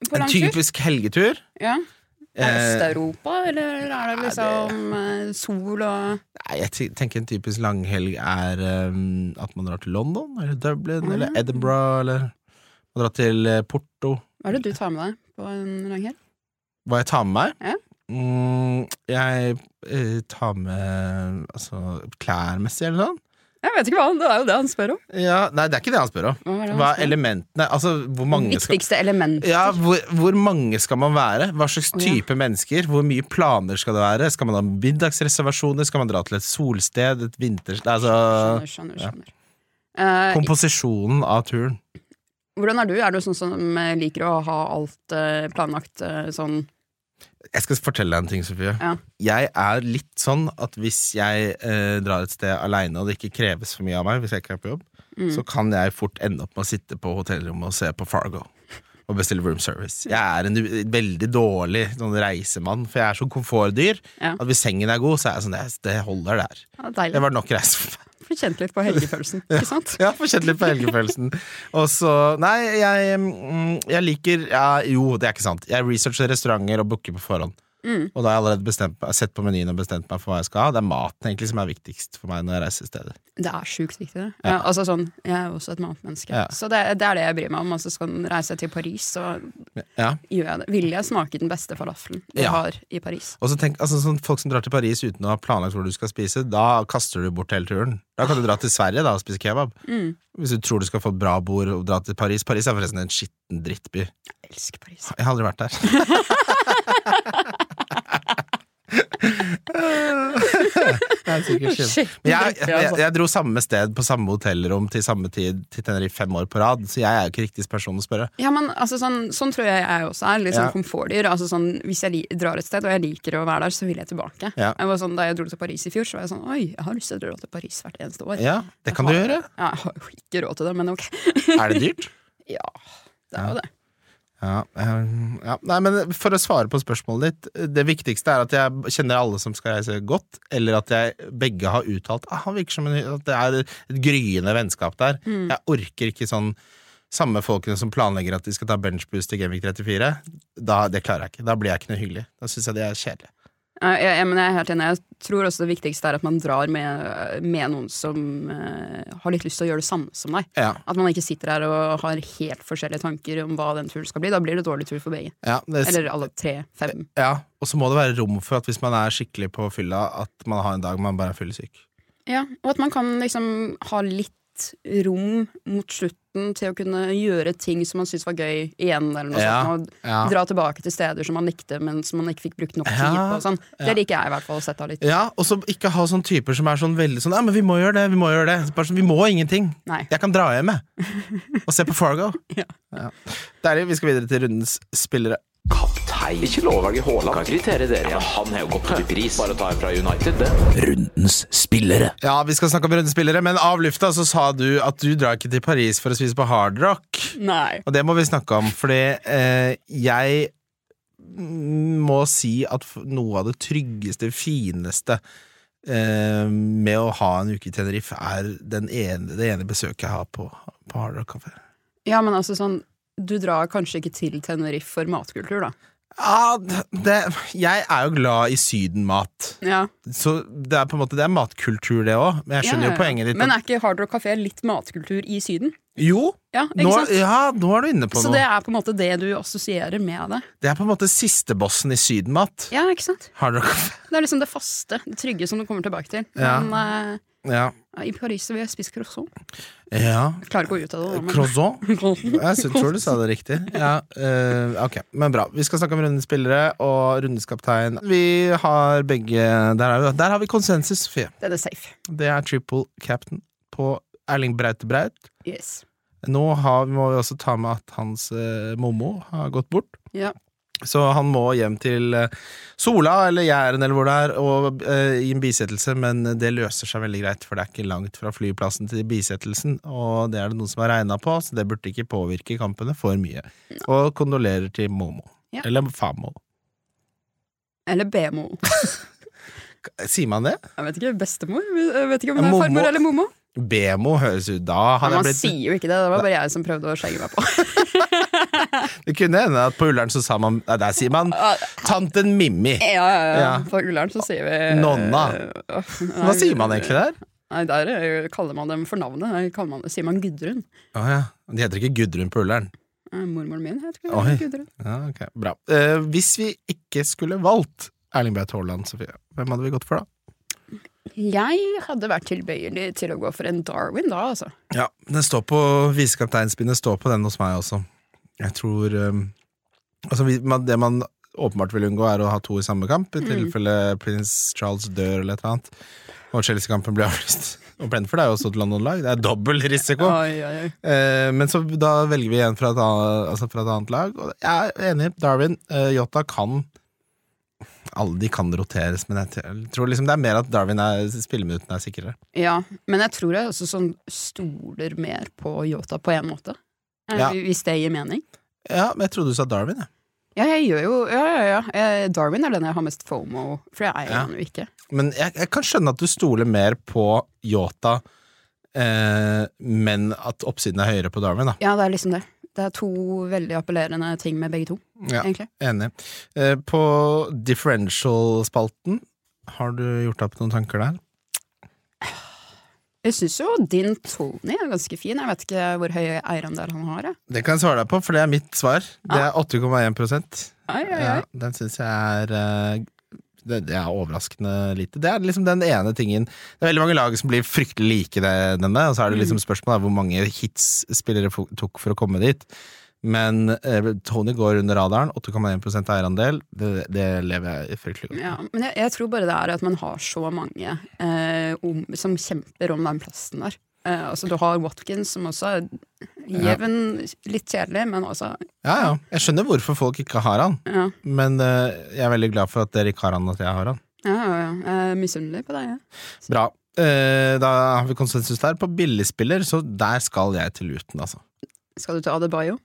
[SPEAKER 3] På
[SPEAKER 2] En
[SPEAKER 3] langtur?
[SPEAKER 2] typisk helgetur.
[SPEAKER 3] Ja. Er det
[SPEAKER 2] Eh,
[SPEAKER 3] Øst-Europa, eller er det liksom eh, sol og
[SPEAKER 2] Nei, jeg ty- tenker en typisk langhelg er ehm, at man drar til London, eller
[SPEAKER 3] Mm.
[SPEAKER 2] Dublin, eller Edinburgh, eller man drar til eh, Porto.
[SPEAKER 3] Hva er det du tar med deg på en lang helg?
[SPEAKER 2] Hva jeg tar med meg?
[SPEAKER 3] Ja.
[SPEAKER 2] Mm, jeg eh, tar med altså, klærmessig eller sånn?
[SPEAKER 3] Jeg vet ikke hva, det er jo det han spør om.
[SPEAKER 2] Ja, nei, det er ikke det han spør om.
[SPEAKER 3] Hva er det han
[SPEAKER 2] Hva
[SPEAKER 3] spør
[SPEAKER 2] er
[SPEAKER 3] om?
[SPEAKER 2] elementene Altså, hvor mange skal
[SPEAKER 3] Viktigste element.
[SPEAKER 2] ja, hvor, hvor mange skal man være? Hva slags
[SPEAKER 3] Å, ja.
[SPEAKER 2] type mennesker? Hvor mye planer skal det være? Skal man ha middagsreservasjoner? Skal man dra til et solsted? Et vinters... Altså
[SPEAKER 3] Skjønner, skjønner, skjønner. Eh,
[SPEAKER 2] komposisjonen av turen.
[SPEAKER 3] hvordan er du? Er du sånn som eh, liker å ha alt eh, planlagt eh, sånn
[SPEAKER 2] Jeg skal fortelle deg en ting, Sofie.
[SPEAKER 3] Ja.
[SPEAKER 2] Jeg er litt sånn at hvis jeg eh, drar et sted aleine, og det ikke kreves for mye av meg, hvis jeg ikke er på jobb,
[SPEAKER 3] Mm.
[SPEAKER 2] så kan jeg fort ende opp med å sitte på hotellrommet og se på Fargo. Og bestille room service. Jeg er en u- veldig dårlig sånn reisemann, for jeg er så komfortdyr
[SPEAKER 3] Ja.
[SPEAKER 2] at hvis sengen er god, så er jeg sånn Det, det holder der.
[SPEAKER 3] ja, Deilig.
[SPEAKER 2] Det var nok reise for meg.
[SPEAKER 3] Får kjent litt på helgefølelsen, ikke sant?
[SPEAKER 2] [laughs] Ja, få kjent litt på helgefølelsen. Og så Nei, jeg, mm, jeg liker ja, Jo, det er ikke sant. Jeg researcher restauranter og booker på forhånd. Og da har jeg allerede bestemt, meg- sett på menyen og bestemt meg for hva jeg skal ha. Det er maten egentlig som er viktigst for meg når jeg reiser steder.
[SPEAKER 3] Det er sjukt viktig, det. Ja. altså sånn, jeg er jo også et matmenneske.
[SPEAKER 2] Ja.
[SPEAKER 3] Så det, det er det jeg bryr meg om. Altså, skal den reise til Paris, så
[SPEAKER 2] Ja.
[SPEAKER 3] gjør jeg det. Vil jeg smake den beste falafelen du
[SPEAKER 2] Ja.
[SPEAKER 3] har i Paris?
[SPEAKER 2] Og så tenk, altså sånn Folk som drar til Paris uten å ha planlagt hvor du skal spise, da kaster du bort hele turen. Da kan du dra til Sverige da og spise kebab. Hvis du tror du skal få et bra bord og dra til Paris. Paris er forresten en skitten drittby.
[SPEAKER 3] Jeg elsker Paris.
[SPEAKER 2] Jeg har aldri vært der. [laughs] det er sikkert kjipt.
[SPEAKER 3] Shit,
[SPEAKER 2] Men jeg,
[SPEAKER 3] drikker jeg,
[SPEAKER 2] jeg,
[SPEAKER 3] altså.
[SPEAKER 2] jeg dro samme sted på samme hotellrom til samme tid til Tenerife fem år på rad, så jeg er jo ikke riktig person å spørre.
[SPEAKER 3] Ja, men altså, sånn, sånn tror jeg jeg også er. Litt sånn
[SPEAKER 2] Ja.
[SPEAKER 3] komfortdyr. Altså, sånn, hvis jeg li drar et sted og jeg liker å være der, så vil jeg tilbake.
[SPEAKER 2] Ja.
[SPEAKER 3] Jeg var sånn, da jeg dro til Paris i fjor, så var jeg sånn Oi, jeg har lyst til å dra til Paris hvert eneste år.
[SPEAKER 2] Ja, det kan du
[SPEAKER 3] Jeg har-
[SPEAKER 2] gjøre.
[SPEAKER 3] Ja, jeg har jo ikke råd til det, men ok. [laughs]
[SPEAKER 2] Er det dyrt?
[SPEAKER 3] Ja, det er jo det.
[SPEAKER 2] Ja, ehm, ja. Nei, men For å svare på spørsmålet ditt Det viktigste er at jeg kjenner alle som skal reise godt, eller at jeg begge har uttalt ah, han virker som en, at det er et gryende vennskap der. Jeg orker ikke sånn samme folkene som planlegger at de skal ta benchboost til Gamvik 34. Da, det klarer jeg ikke. Da blir jeg ikke noe hyggelig. Da syns jeg det er kjedelig.
[SPEAKER 3] Jeg, jeg, jeg, men jeg er helt enig. Jeg tror også det viktigste er at man drar med, med noen som eh, har litt lyst til å gjøre det samme som deg.
[SPEAKER 2] Ja,
[SPEAKER 3] At man ikke sitter her og har helt forskjellige tanker om hva den turen skal bli. Da blir det dårlig tur for begge.
[SPEAKER 2] ja, det,
[SPEAKER 3] Eller alle tre, fem.
[SPEAKER 2] ja. Og så må det være rom for at hvis man er skikkelig på fylla, at man har en dag man bare er fyllesyk.
[SPEAKER 3] Ja, og at man kan liksom ha litt rom mot slutten til å kunne gjøre ting som man syntes var gøy igjen, eller noe
[SPEAKER 2] Ja,
[SPEAKER 3] sånt. Og
[SPEAKER 2] ja.
[SPEAKER 3] dra tilbake til steder som man likte, men som man ikke fikk brukt nok tid
[SPEAKER 2] Ja,
[SPEAKER 3] på. og Sånn. Det liker jeg i hvert fall å sette av litt.
[SPEAKER 2] Ja, og så ikke ha sånne typer som er sånn veldig sånn Ja, men vi må gjøre det, vi må gjøre det. Bare sånn, vi må ingenting.
[SPEAKER 3] Nei.
[SPEAKER 2] Jeg kan dra hjem, jeg.
[SPEAKER 3] [laughs]
[SPEAKER 2] Og se på Fargo.
[SPEAKER 3] Ja.
[SPEAKER 2] Deilig. Vi skal videre til rundens spillere.
[SPEAKER 1] Kaptein. Ikke lov å velge Haaland. Kan kritere dere. Ja, han har jo gått opp i pris. Bare ta en fra United, det. Rundens spillere.
[SPEAKER 2] Ja, vi skal snakke om rundens spillere, men av lufta så sa du at du drar ikke til Paris for å spise på hardrock.
[SPEAKER 3] Nei.
[SPEAKER 2] Og det må vi snakke om, fordi eh, jeg må si at f- noe av det tryggeste, fineste eh, med å ha en uke i Tenerife, er den ene, det ene besøket jeg har på, på Hard Rock Café.
[SPEAKER 3] Ja, men altså sånn Du drar kanskje ikke til Tenerife for matkultur, da.
[SPEAKER 2] Ja, Ah, det, jeg er jo glad i sydenmat.
[SPEAKER 3] Ja,
[SPEAKER 2] Så det er på en måte Det er matkultur, det òg. Men jeg skjønner
[SPEAKER 3] Ja, ja,
[SPEAKER 2] jo
[SPEAKER 3] ja.
[SPEAKER 2] poenget ditt.
[SPEAKER 3] Men
[SPEAKER 2] at-
[SPEAKER 3] er ikke Hard Rock Café litt matkultur i Syden?
[SPEAKER 2] jo,
[SPEAKER 3] Ja, ikke
[SPEAKER 2] nå,
[SPEAKER 3] sant?
[SPEAKER 2] ja, nå er du inne på
[SPEAKER 3] Så
[SPEAKER 2] noe.
[SPEAKER 3] det
[SPEAKER 2] Det,
[SPEAKER 3] er på en måte det du assosierer med det.
[SPEAKER 2] er på en måte sistebossen i sydenmat.
[SPEAKER 3] Ja, ikke sant?
[SPEAKER 2] Hard rock Café.
[SPEAKER 3] Det er liksom det faste, det trygge som du kommer tilbake til.
[SPEAKER 2] Ja.
[SPEAKER 3] Men
[SPEAKER 2] [laughs] Ja.
[SPEAKER 3] eh, i Paris så vil jeg spise croissant.
[SPEAKER 2] ja.
[SPEAKER 3] Jeg klarer ikke å gå ut av det. da, men-
[SPEAKER 2] Croissant.
[SPEAKER 3] [laughs] Croissant.
[SPEAKER 2] Jeg sy- tror du sa det riktig. Ja, eh, ok, Men bra. Vi skal snakke om rundens spillere og rundens kaptein. Vi har begge Der, er vi, der har vi konsensus, Sofie.
[SPEAKER 3] Det er det safe.
[SPEAKER 2] Det er triple captain på Erling Braute Braut.
[SPEAKER 3] Yes.
[SPEAKER 2] Nå har, må vi også ta med at hans eh, mommo har gått bort.
[SPEAKER 3] Ja.
[SPEAKER 2] Så han må hjem til eh, Sola eller Jæren eller hvor det er, og eh, i en bisettelse, men det løser seg veldig greit, for det er ikke langt fra flyplassen til bisettelsen, og det er det noen som har regna på, så det burde ikke påvirke kampene for mye. Og kondolerer til Momo.
[SPEAKER 3] Ja.
[SPEAKER 2] Eller Famo.
[SPEAKER 3] Eller BMO.
[SPEAKER 2] Sier man det?
[SPEAKER 3] Jeg vet ikke. Bestemor? Jeg vet ikke om
[SPEAKER 2] Ja,
[SPEAKER 3] det er
[SPEAKER 2] mormor.
[SPEAKER 3] farmor eller momo.
[SPEAKER 2] Bemo høres ut Da
[SPEAKER 3] Men
[SPEAKER 2] hadde
[SPEAKER 3] man
[SPEAKER 2] jeg blitt
[SPEAKER 3] sier jo ikke det. Det var bare jeg som prøvde å slenge meg på.
[SPEAKER 2] Det kunne hende at på Ullern så sa man Nei, der sier man [laughs] tanten Mimmi.
[SPEAKER 3] Ja, ja, ja.
[SPEAKER 2] Ja.
[SPEAKER 3] På Ullern så sier vi eh,
[SPEAKER 2] Nonna. Hva sier man egentlig der?
[SPEAKER 3] Nei, Der eh, kaller man dem for navnet. Der kaller man, sier man Gudrun.
[SPEAKER 2] Å ja. De heter ikke Gudrun på Ullern.
[SPEAKER 3] Eh, Mormoren min heter
[SPEAKER 2] Oi.
[SPEAKER 3] Gudrun.
[SPEAKER 2] Ja, ok, bra. Eh, hvis vi ikke skulle valgt Erling Braut Haaland, Sofie. Hvem hadde vi gått for, da?
[SPEAKER 3] Jeg hadde vært tilbøyelig til å gå for en Darwin da, altså.
[SPEAKER 2] Ja, den står på visekapteinspinnet står på den hos meg også. Jeg tror um, Altså, vi- man- det man åpenbart vil unngå, er å ha to i samme kamp, i tilfelle prins Charles dør eller et eller annet, og Chelsea-kampen blir avlyst. Og Brentford er jo også et London-lag, det er dobbel risiko.
[SPEAKER 3] Oi, oi, oi.
[SPEAKER 2] Eh, men så da velger vi en fra et annet, altså fra et annet lag. Og jeg er enig, Darwin. Eh, Jota kan Alle de kan roteres, men jeg t- jeg tror liksom det er mer at Darwin er spilleminuttene er sikrere.
[SPEAKER 3] Ja, men jeg tror jeg også sånn stoler mer på Yota på en måte. Eh,
[SPEAKER 2] Ja.
[SPEAKER 3] Hvis det gir mening.
[SPEAKER 2] Ja, men jeg trodde du sa Darwin, jeg.
[SPEAKER 3] Ja, jeg gjør jo Ja, ja, ja. Eh, Darwin er den jeg har mest fomo, for jeg eier
[SPEAKER 2] Ja.
[SPEAKER 3] han jo ikke.
[SPEAKER 2] Men jeg, jeg kan skjønne at du stoler mer på Yota, eh, men at oppsiden er høyere på Darwin, da.
[SPEAKER 3] Ja, det er liksom det. Det er to veldig appellerende ting med begge to,
[SPEAKER 2] Ja,
[SPEAKER 3] egentlig.
[SPEAKER 2] Enig. Eh, på differential-spalten, har du gjort deg opp noen tanker der?
[SPEAKER 3] Jeg syns jo din Tony er ganske fin. Jeg vet ikke hvor høy eierandel han har. Jeg.
[SPEAKER 2] Det kan jeg svare deg på, for det er mitt svar. Det er 8,1
[SPEAKER 3] Ai, ai,
[SPEAKER 2] Ja,
[SPEAKER 3] ai.
[SPEAKER 2] den syns jeg er eh, det, det er overraskende lite. Det er liksom den ene tingen Det er veldig mange lag som blir fryktelig like det, denne, og så er det liksom spørsmålet er hvor mange hits spillere fo- tok for å komme dit. Men eh, Tony går under radaren. 8,1 eierandel. Det, det lever jeg fryktelig godt med.
[SPEAKER 3] Ja, men jeg, jeg tror bare det er at man har så mange eh, om, som kjemper om den plassen der. Eh, altså Du har Watkins, som også er jevn, litt kjedelig, men altså
[SPEAKER 2] Ja, ja. Jeg skjønner hvorfor folk ikke har han,
[SPEAKER 3] Ja,
[SPEAKER 2] men eh, jeg er veldig glad for at dere ikke har han, og at jeg har han.
[SPEAKER 3] ja, ja. ja. Jeg er misunnelig på deg, jeg.
[SPEAKER 2] Bra. Eh, da har vi konsensus der. På billigspiller, så der skal jeg til Luton, altså.
[SPEAKER 3] Skal du til Adebayo?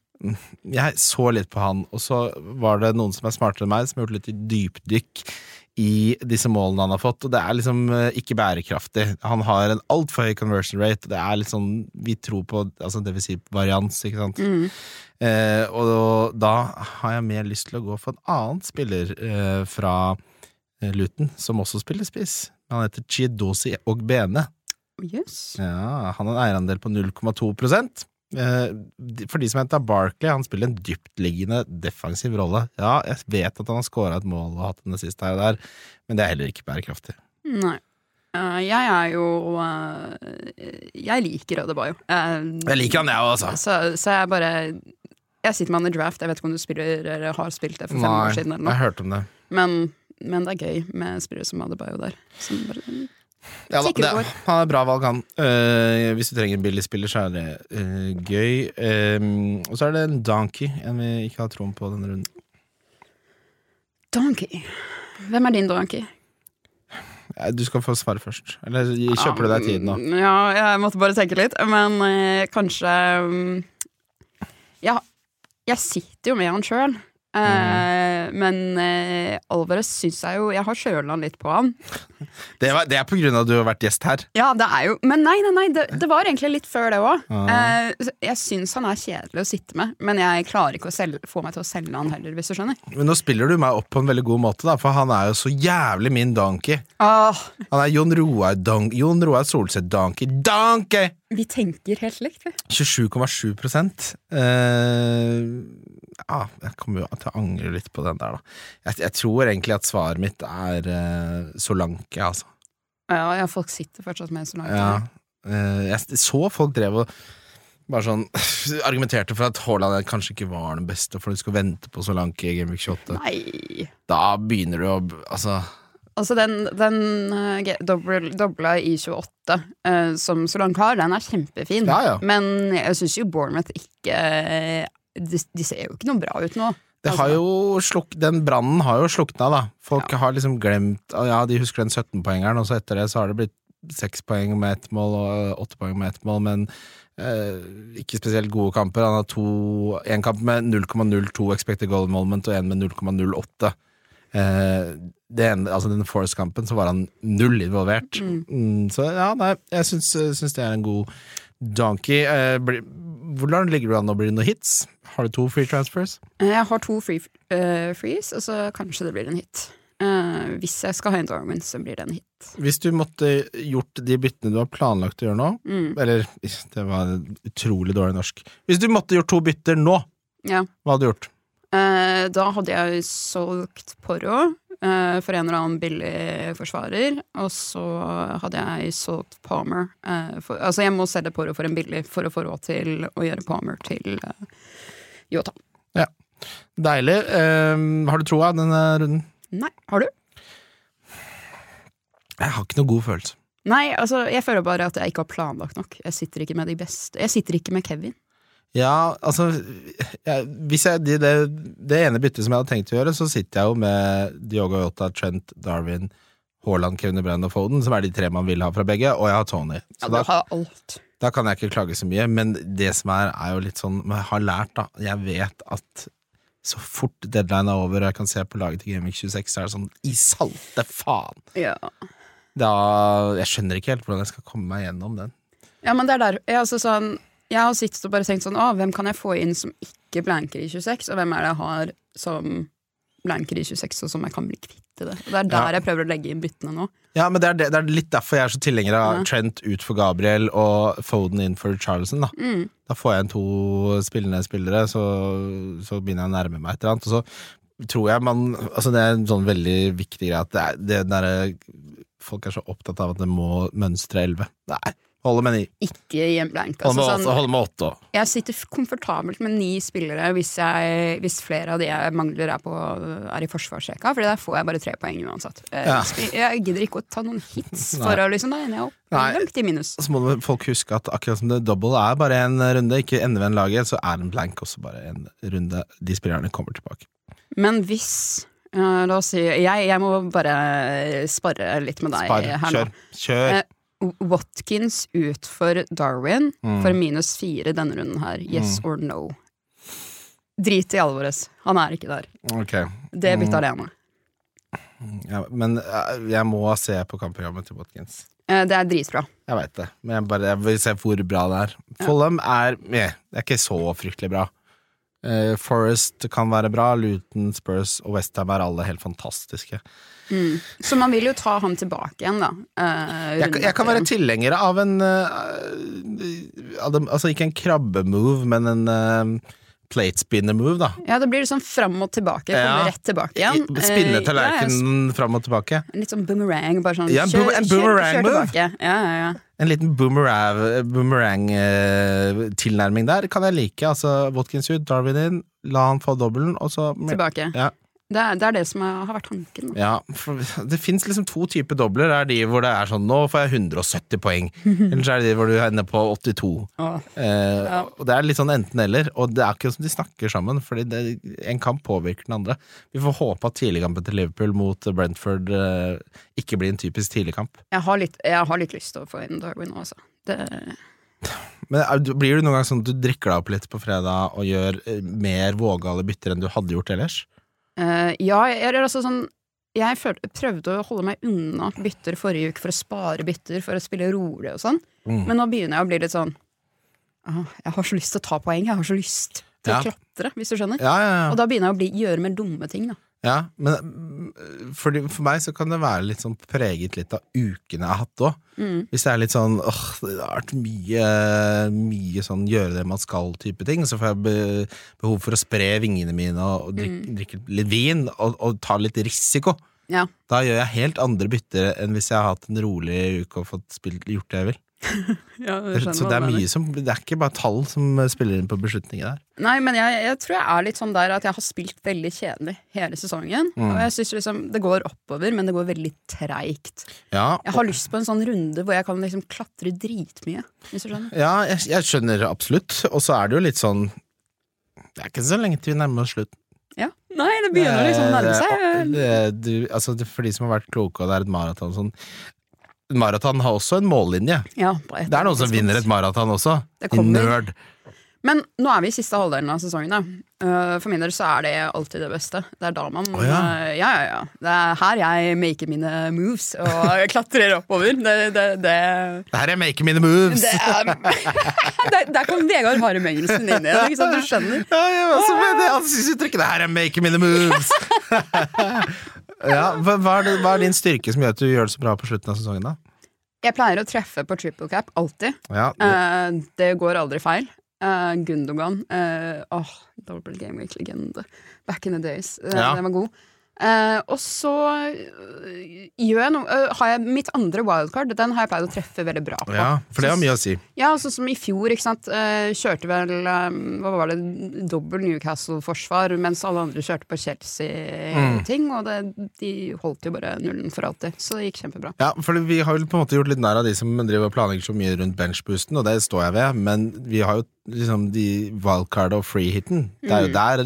[SPEAKER 2] jeg så litt på han, og så var det noen som er smartere enn meg, som har gjort litt dypdykk i disse målene han har fått, og det er liksom eh, ikke bærekraftig. Han har en altfor høy conversion rate, og det er litt sånn vi tror på, altså det vil si varians, ikke
[SPEAKER 3] Mm.
[SPEAKER 2] sant. Eh, og da har jeg mer lyst til å gå for en annen spiller eh, fra eh, Luton, som også spiller spiss. Han heter Chiedosi Ogbene.
[SPEAKER 3] Yes.
[SPEAKER 2] Ja, han har en eierandel på 0,2 Eh, de- For de som henta Barkley, han spiller en dyptliggende defensiv rolle. Ja, jeg vet at han har scora et mål og hatt en assist her og der, men det er heller ikke bærekraftig.
[SPEAKER 3] Nei. Eh, jeg er jo eh, Jeg liker Adebayo. Eh,
[SPEAKER 2] Jeg liker han, jeg òg, altså.
[SPEAKER 3] Så, så jeg bare Jeg sitter med han i draft. Jeg vet ikke om du spiller eller har spilt det for fem år siden, eller
[SPEAKER 2] jeg
[SPEAKER 3] noe.
[SPEAKER 2] hørte om det.
[SPEAKER 3] Men, men det er gøy med spillere som Adebayo der. Som bare,
[SPEAKER 2] Ja, da,
[SPEAKER 3] Sikkert
[SPEAKER 2] det,
[SPEAKER 3] går.
[SPEAKER 2] han er bra valg, han. Eh, hvis du trenger en billig spiller, så er det eh, gøy. Eh, og så er det en donkey, en vi ikke har troen på denne runden.
[SPEAKER 3] Donkey. Hvem er din donkey?
[SPEAKER 2] Eh, Du skal få svare først. Eller kjøper du deg tid nå?
[SPEAKER 3] Um, Ja, jeg måtte bare tenke litt. Men eh, kanskje um, Ja, jeg sitter jo med han sjøl.
[SPEAKER 2] Mm.
[SPEAKER 3] Men eh, Alvarez syns jeg jo Jeg har kjøla han litt på han.
[SPEAKER 2] Det, var, det er på grunn av at du har vært gjest her.
[SPEAKER 3] Ja, det er jo Men nei, nei, nei, det, det var egentlig litt før det òg.
[SPEAKER 2] Ah.
[SPEAKER 3] jeg syns han er kjedelig å sitte med, men jeg klarer ikke å selge, få meg til å selge han heller, hvis du skjønner.
[SPEAKER 2] Men nå spiller du meg opp på en veldig god måte, da, for han er jo så jævlig min donkey.
[SPEAKER 3] Åh,
[SPEAKER 2] Han er Jon Roar, don Jon Roar Solseth-donkey. Donkey!
[SPEAKER 3] vi tenker helt likt, vi.
[SPEAKER 2] 27,7 eh, ah, Jeg kommer jo til å angre litt på den der, da. Jeg, jeg tror egentlig at svaret mitt er eh, Solanke, altså.
[SPEAKER 3] Ja, ja, folk sitter fortsatt med så langt.
[SPEAKER 2] Ja. Eh, jeg så folk drev og bare sånn [laughs] argumenterte for at Haaland kanskje ikke var den beste, for du skal vente på Solanke i Gameweek 28.
[SPEAKER 3] Nei.
[SPEAKER 2] Da begynner du å b- Altså.
[SPEAKER 3] Altså, den, den eh, ge- dobbel- dobla i 28 eh, som Solanke har, den er kjempefin.
[SPEAKER 2] Ja, ja.
[SPEAKER 3] Men jeg syns jo Bournemouth ikke eh, de, de ser jo ikke noe bra ut nå.
[SPEAKER 2] Det har jo sluk, den brannen har jo slukna, da. Folk har liksom glemt å, Ja, de husker den 17-poengeren, og så etter det så har det blitt seks poeng med ett mål og øh, åtte poeng med ett mål, men eh, ikke spesielt gode kamper. Han har to En kamp med 0,02 expected goal moment og en med 0,08. Eh, det ene, altså den Force-kampen, så var han null involvert. Mm, så ja, nei, jeg syns, øh, syns det er en god donkey. Eh, blir- hvordan ligger du an nå? Blir det noen hits? Har du to free transfers?
[SPEAKER 3] Eh, Jeg har to free, eh, frees, og så kanskje det blir en hit. Eh, hvis jeg skal ha en Darwin, så blir det en hit.
[SPEAKER 2] Hvis du måtte gjort de byttene du har planlagt å gjøre nå
[SPEAKER 3] Mm,
[SPEAKER 2] Eller, det var utrolig dårlig norsk Hvis du måtte gjort to bytter nå,
[SPEAKER 3] Ja.
[SPEAKER 2] hva hadde du gjort?
[SPEAKER 3] Eh, da hadde jeg solgt Porro, eh, for en eller annen billig forsvarer. Og så hadde jeg solgt Palmer. eh, for, altså jeg må selge Poro for en billig for å få råd til å gjøre Palmer til eh, Jota.
[SPEAKER 2] Deilig. Eh, har du troa denne runden?
[SPEAKER 3] Nei, har du?
[SPEAKER 2] Jeg har ikke noe god følelse.
[SPEAKER 3] Nei, altså jeg føler bare at jeg ikke har planlagt nok. Jeg sitter ikke med de beste. Jeg sitter ikke med Kevin.
[SPEAKER 2] Ja, altså jeg, Hvis jeg, det, det, det ene byttet som jeg hadde tenkt å gjøre, så sitter jeg jo med Diogo Jota, Trent, Darwin, Haaland, Kevin De Bruyne og Foden, som er de tre man vil ha fra begge, og jeg har Tony. Så
[SPEAKER 3] Ja,
[SPEAKER 2] da,
[SPEAKER 3] du har alt.
[SPEAKER 2] da kan jeg ikke klage så mye, men det som er, er jo litt sånn men Jeg har lært, da. Jeg vet at så fort deadline er over og jeg kan se på laget til Gaming 26, så er det sånn i salte faen!
[SPEAKER 3] Ja.
[SPEAKER 2] Da, jeg skjønner ikke helt hvordan jeg skal komme meg gjennom den.
[SPEAKER 3] Ja, men det er der jeg, altså, sånn, jeg har sittet og bare tenkt sånn Å, hvem kan jeg få inn som ikke blanker i 26, og hvem er det jeg har som blanker i 26, og som jeg kan bli kvitt i det? Og det er der jeg prøver å legge inn byttene nå.
[SPEAKER 2] Ja, men det er, det, det er litt derfor jeg er så tilhenger av
[SPEAKER 3] Ja.
[SPEAKER 2] Trent ut for Gabriel og Foden inn for Charleston. Da.
[SPEAKER 3] Mm.
[SPEAKER 2] da får jeg en to spillende spillere, så, så begynner jeg å nærme meg et eller annet. Og så tror jeg man altså Det er en sånn veldig viktig greie at det er, det der, eh, folk er så opptatt av at det må mønstre 11. Nei, holde med 9.
[SPEAKER 3] Ikke i en blank.
[SPEAKER 2] Holde
[SPEAKER 3] Altså,
[SPEAKER 2] med, åtte,
[SPEAKER 3] sånn,
[SPEAKER 2] holde med 8.
[SPEAKER 3] jeg sitter f- komfortabelt med ni spillere hvis, jeg, hvis flere av de jeg mangler, er, på, er i forsvarsrekka, Fordi der får jeg bare tre poeng uansett. Eh,
[SPEAKER 2] Ja.
[SPEAKER 3] spi- Jeg gidder ikke å ta noen hits for
[SPEAKER 2] [laughs] Nei.
[SPEAKER 3] å liksom Nei, jeg er opp-
[SPEAKER 2] Nei.
[SPEAKER 3] langt i minus.
[SPEAKER 2] Så må folk huske at akkurat som det double er bare en runde, ikke endevend laget, så er en blank også bare en runde. De spillerne kommer tilbake.
[SPEAKER 3] Men hvis eh, La oss si jeg, jeg må bare spare litt med deg
[SPEAKER 2] Spar,
[SPEAKER 3] her nå.
[SPEAKER 2] kjør, kjør.
[SPEAKER 3] Eh, Watkins ut for Darwin
[SPEAKER 2] Mm.
[SPEAKER 3] for minus fire denne runden her. Yes or no? Drit i Alvarez. Han er ikke der.
[SPEAKER 2] Ok.
[SPEAKER 3] Det byttet
[SPEAKER 2] Mm.
[SPEAKER 3] alene.
[SPEAKER 2] Ja, men eh, jeg må se på kampprogrammet til Watkins.
[SPEAKER 3] Eh, det er dritbra.
[SPEAKER 2] Jeg veit det, men jeg, bare, jeg vil se hvor bra det er. Follum er meh, Det er ikke så fryktelig bra. Eh, Forest kan være bra, Luton, Spurs og Westham er alle helt fantastiske.
[SPEAKER 3] Så man vil jo ta han tilbake igjen, da. eh,
[SPEAKER 2] Jeg,
[SPEAKER 3] runden
[SPEAKER 2] kan- jeg kan være
[SPEAKER 3] etter igjen.
[SPEAKER 2] tilhenger av en eh, av dem- Altså ikke en krabbemove, men en uh, platespinner-move, da.
[SPEAKER 3] Ja, det blir liksom fram og tilbake.
[SPEAKER 2] Ja.
[SPEAKER 3] Kommer rett tilbake igjen.
[SPEAKER 2] I- Spinne
[SPEAKER 3] Eh, ja,
[SPEAKER 2] tallerkenen fram og tilbake.
[SPEAKER 3] ja, litt sånn boomerang. Bare sånn
[SPEAKER 2] Ja, en boom- en boomerang move.
[SPEAKER 3] tilbake. Ja, ja, ja.
[SPEAKER 2] En liten boomerang-tilnærming der kan jeg like. Altså Watkins ut, Darwin inn, la han få dobbelen, og så
[SPEAKER 3] Tilbake.
[SPEAKER 2] Ja,
[SPEAKER 3] Det er, det er det som er, har vært tanken. Da.
[SPEAKER 2] ja. For [laughs] Det fins liksom to typer dobler. Det er de hvor det er sånn 'nå får jeg 170
[SPEAKER 3] [laughs]
[SPEAKER 2] poeng', eller så er det de hvor du ender på 82.
[SPEAKER 3] Åh.
[SPEAKER 2] Eh,
[SPEAKER 3] Ja.
[SPEAKER 2] Og Det er litt sånn enten-eller, og det er ikke som de snakker sammen, fordi det, en kamp påvirker den andre. Vi får håpe at tidligkampen til Liverpool mot Brentford eh, ikke blir en typisk tidligkamp.
[SPEAKER 3] Jeg, har litt, jeg har litt lyst til å få inn Darwin nå, altså. Det,
[SPEAKER 2] Men er du- Blir det noen gang sånn at du drikker deg opp litt på fredag og gjør eh, mer vågale bytter enn du hadde gjort ellers?
[SPEAKER 3] Eh, ja, jeg, eller altså sånn Jeg følte, prøvde å holde meg unna bytter forrige uke for å spare bytter, for å spille rolig og sånn.
[SPEAKER 2] Mm.
[SPEAKER 3] Men nå begynner jeg å bli litt sånn «Åh, Jeg har så lyst til å ta poeng, jeg har så lyst til
[SPEAKER 2] Ja.
[SPEAKER 3] å klatre, hvis du skjønner.
[SPEAKER 2] Ja, ja, ja.
[SPEAKER 3] Og da begynner jeg å bli, gjøre mer dumme ting, da.
[SPEAKER 2] ja men mm, fordi, for meg så kan det være litt sånn preget litt av ukene jeg har hatt òg.
[SPEAKER 3] Mm.
[SPEAKER 2] Hvis det er litt sånn åh, det har vært mye, mye sånn gjøre det man skal-type ting, så får jeg be, behov for å spre vingene mine og, og drikke,
[SPEAKER 3] Mm.
[SPEAKER 2] drikke litt vin og, og ta litt risiko.
[SPEAKER 3] Ja.
[SPEAKER 2] Da gjør jeg helt andre bytter enn hvis jeg har hatt en rolig uke og fått spilt, gjort det jeg vil. Så det er mye som Det er ikke bare tall som eh, spiller inn på beslutninger der.
[SPEAKER 3] Nei, men jeg, jeg tror jeg er litt sånn der at jeg har spilt veldig kjedelig hele sesongen.
[SPEAKER 2] Mm.
[SPEAKER 3] Og jeg synes liksom det går oppover, men det går veldig treigt.
[SPEAKER 2] Ja,
[SPEAKER 3] Jeg har lyst på en sånn runde hvor jeg kan liksom klatre dritmye, hvis du skjønner.
[SPEAKER 2] ja jeg, jeg skjønner absolutt. Og så er det jo litt sånn Det er ikke så lenge til vi nærmer oss slutten. eh,
[SPEAKER 3] Ja. Nei, det begynner liksom å nærme seg.
[SPEAKER 2] Det, det, du, altså, det, for de som har vært kloke, og det er et maraton sånn Maraton har også en mållinje.
[SPEAKER 3] Ja, på et
[SPEAKER 2] Det er noen som
[SPEAKER 3] tidspunkt.
[SPEAKER 2] vinner et maraton også.
[SPEAKER 3] Det
[SPEAKER 2] Din
[SPEAKER 3] kommer.
[SPEAKER 2] Nerd.
[SPEAKER 3] Men nå er vi i siste halvdelen av sesongen. Da. Eh, For min del så er det alltid det beste. Det er da man
[SPEAKER 2] Å, ja.
[SPEAKER 3] eh, ja, ja, ja. Det er her jeg maker mine moves og [laughs] klatrer oppover. Det, det, det,
[SPEAKER 2] Det her er making mine moves!
[SPEAKER 3] [laughs] det er Der, der kom Vegard Harem Engelsen inn igjen, ikke sant? Du skjønner.
[SPEAKER 2] Ja, jeg var også med det altså, ansiktsuttrykket. Det her er making mine
[SPEAKER 3] [laughs]
[SPEAKER 2] moves! [laughs] ja, hva, hva, er det, hva er din styrke som gjør at du gjør det så bra på slutten av sesongen, da?
[SPEAKER 3] Jeg pleier å treffe på triple cap, alltid.
[SPEAKER 2] Ja, det,
[SPEAKER 3] Eh, det går aldri feil. Eh, Gundogan. eh, Åh, Double Game Week-legende. Back in the days. Eh,
[SPEAKER 2] Ja.
[SPEAKER 3] Den var god. Eh, og så øh, gjør jeg noe, øh, har jeg mitt andre wildcard. Den har jeg pleid å treffe veldig bra på.
[SPEAKER 2] Ja, for det har mye å si.
[SPEAKER 3] Ja, sånn som i fjor, ikke sant. eh, kjørte vel eh, hva var det, dobbel Newcastle-forsvar, mens alle andre kjørte på Chelsea-ting.
[SPEAKER 2] Mm.
[SPEAKER 3] Og det, de holdt jo bare nullen for alltid, så det gikk kjempebra.
[SPEAKER 2] Ja, for vi har jo på en måte gjort litt nær av de som driver og planlegger så mye rundt benchboosten, og det står jeg ved, men vi har jo liksom de wildcard og freehiten. Det
[SPEAKER 3] Mm.
[SPEAKER 2] er jo der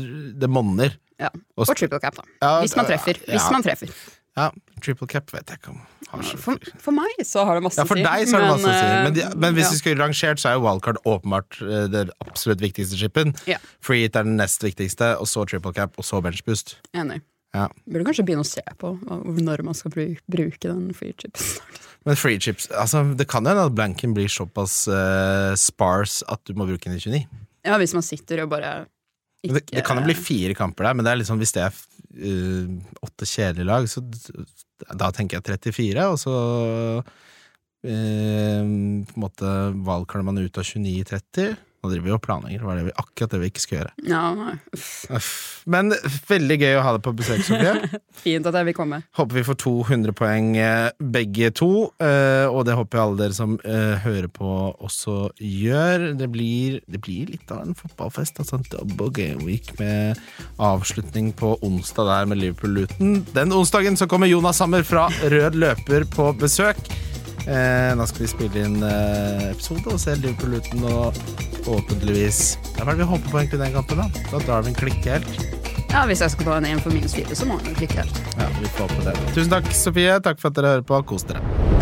[SPEAKER 2] det monner.
[SPEAKER 3] Ja.
[SPEAKER 2] Og
[SPEAKER 3] Og
[SPEAKER 2] s-
[SPEAKER 3] triple cap, da.
[SPEAKER 2] Ja,
[SPEAKER 3] Hvis man treffer.
[SPEAKER 2] ja.
[SPEAKER 3] Hvis man treffer.
[SPEAKER 2] Ja, triple cap vet jeg ikke om har så
[SPEAKER 3] For, for meg så har det masse
[SPEAKER 2] ja,
[SPEAKER 3] å
[SPEAKER 2] for
[SPEAKER 3] si.
[SPEAKER 2] deg så har det masse å si,
[SPEAKER 3] eh,
[SPEAKER 2] men, de, men hvis
[SPEAKER 3] ja.
[SPEAKER 2] vi skulle rangert, så er jo wildcard åpenbart eh, det absolutt viktigste chipen.
[SPEAKER 3] Ja.
[SPEAKER 2] Freehit er den nest viktigste, og så triple cap, og så benchboost.
[SPEAKER 3] Enig.
[SPEAKER 2] Ja.
[SPEAKER 3] Burde kanskje begynne å se på hva- når man skal bru- bruke den free chips.
[SPEAKER 2] Men free chips altså, Det kan jo hende at blanken blir såpass eh, sparse at du må bruke den i 29.
[SPEAKER 3] Ja, hvis man sitter og bare ikke
[SPEAKER 2] Men Det, det kan jo bli fire kamper der, men det er litt sånn, hvis det er eh, åtte kjedelige lag, så d- da tenker jeg 34, og så eh, på en måte valgkaller man ut av 29 i 30. Nå driver vi og planlegger, det var det vi, akkurat det vi ikke skal gjøre.
[SPEAKER 3] Ja, nei. Uff,
[SPEAKER 2] Uff. Men veldig gøy å ha deg på besøk, Sofie.
[SPEAKER 3] Fint at jeg vil komme.
[SPEAKER 2] Håper vi får 200 poeng eh, begge to, eh, og det håper jeg alle dere som eh, hører på også gjør. Det blir, det blir litt av en fotballfest, altså en double game week med avslutning på onsdag der med Liverpool-Luton. Den onsdagen så kommer Jonas Hammer fra Rød løper på besøk. Eh, da skal vi spille inn eh, episode og se Liverpool-Luton og åpenligvis Hva er det vi håper på egentlig i den kampen, da? Da drar vi en klikk helt.
[SPEAKER 3] Ja, Hvis jeg skal ta en 1 for minus 4, så må jeg nok klikke helt.
[SPEAKER 2] Ja, vi får håpe det. Tusen takk, Sofie. Takk for at dere hører på. Kos dere.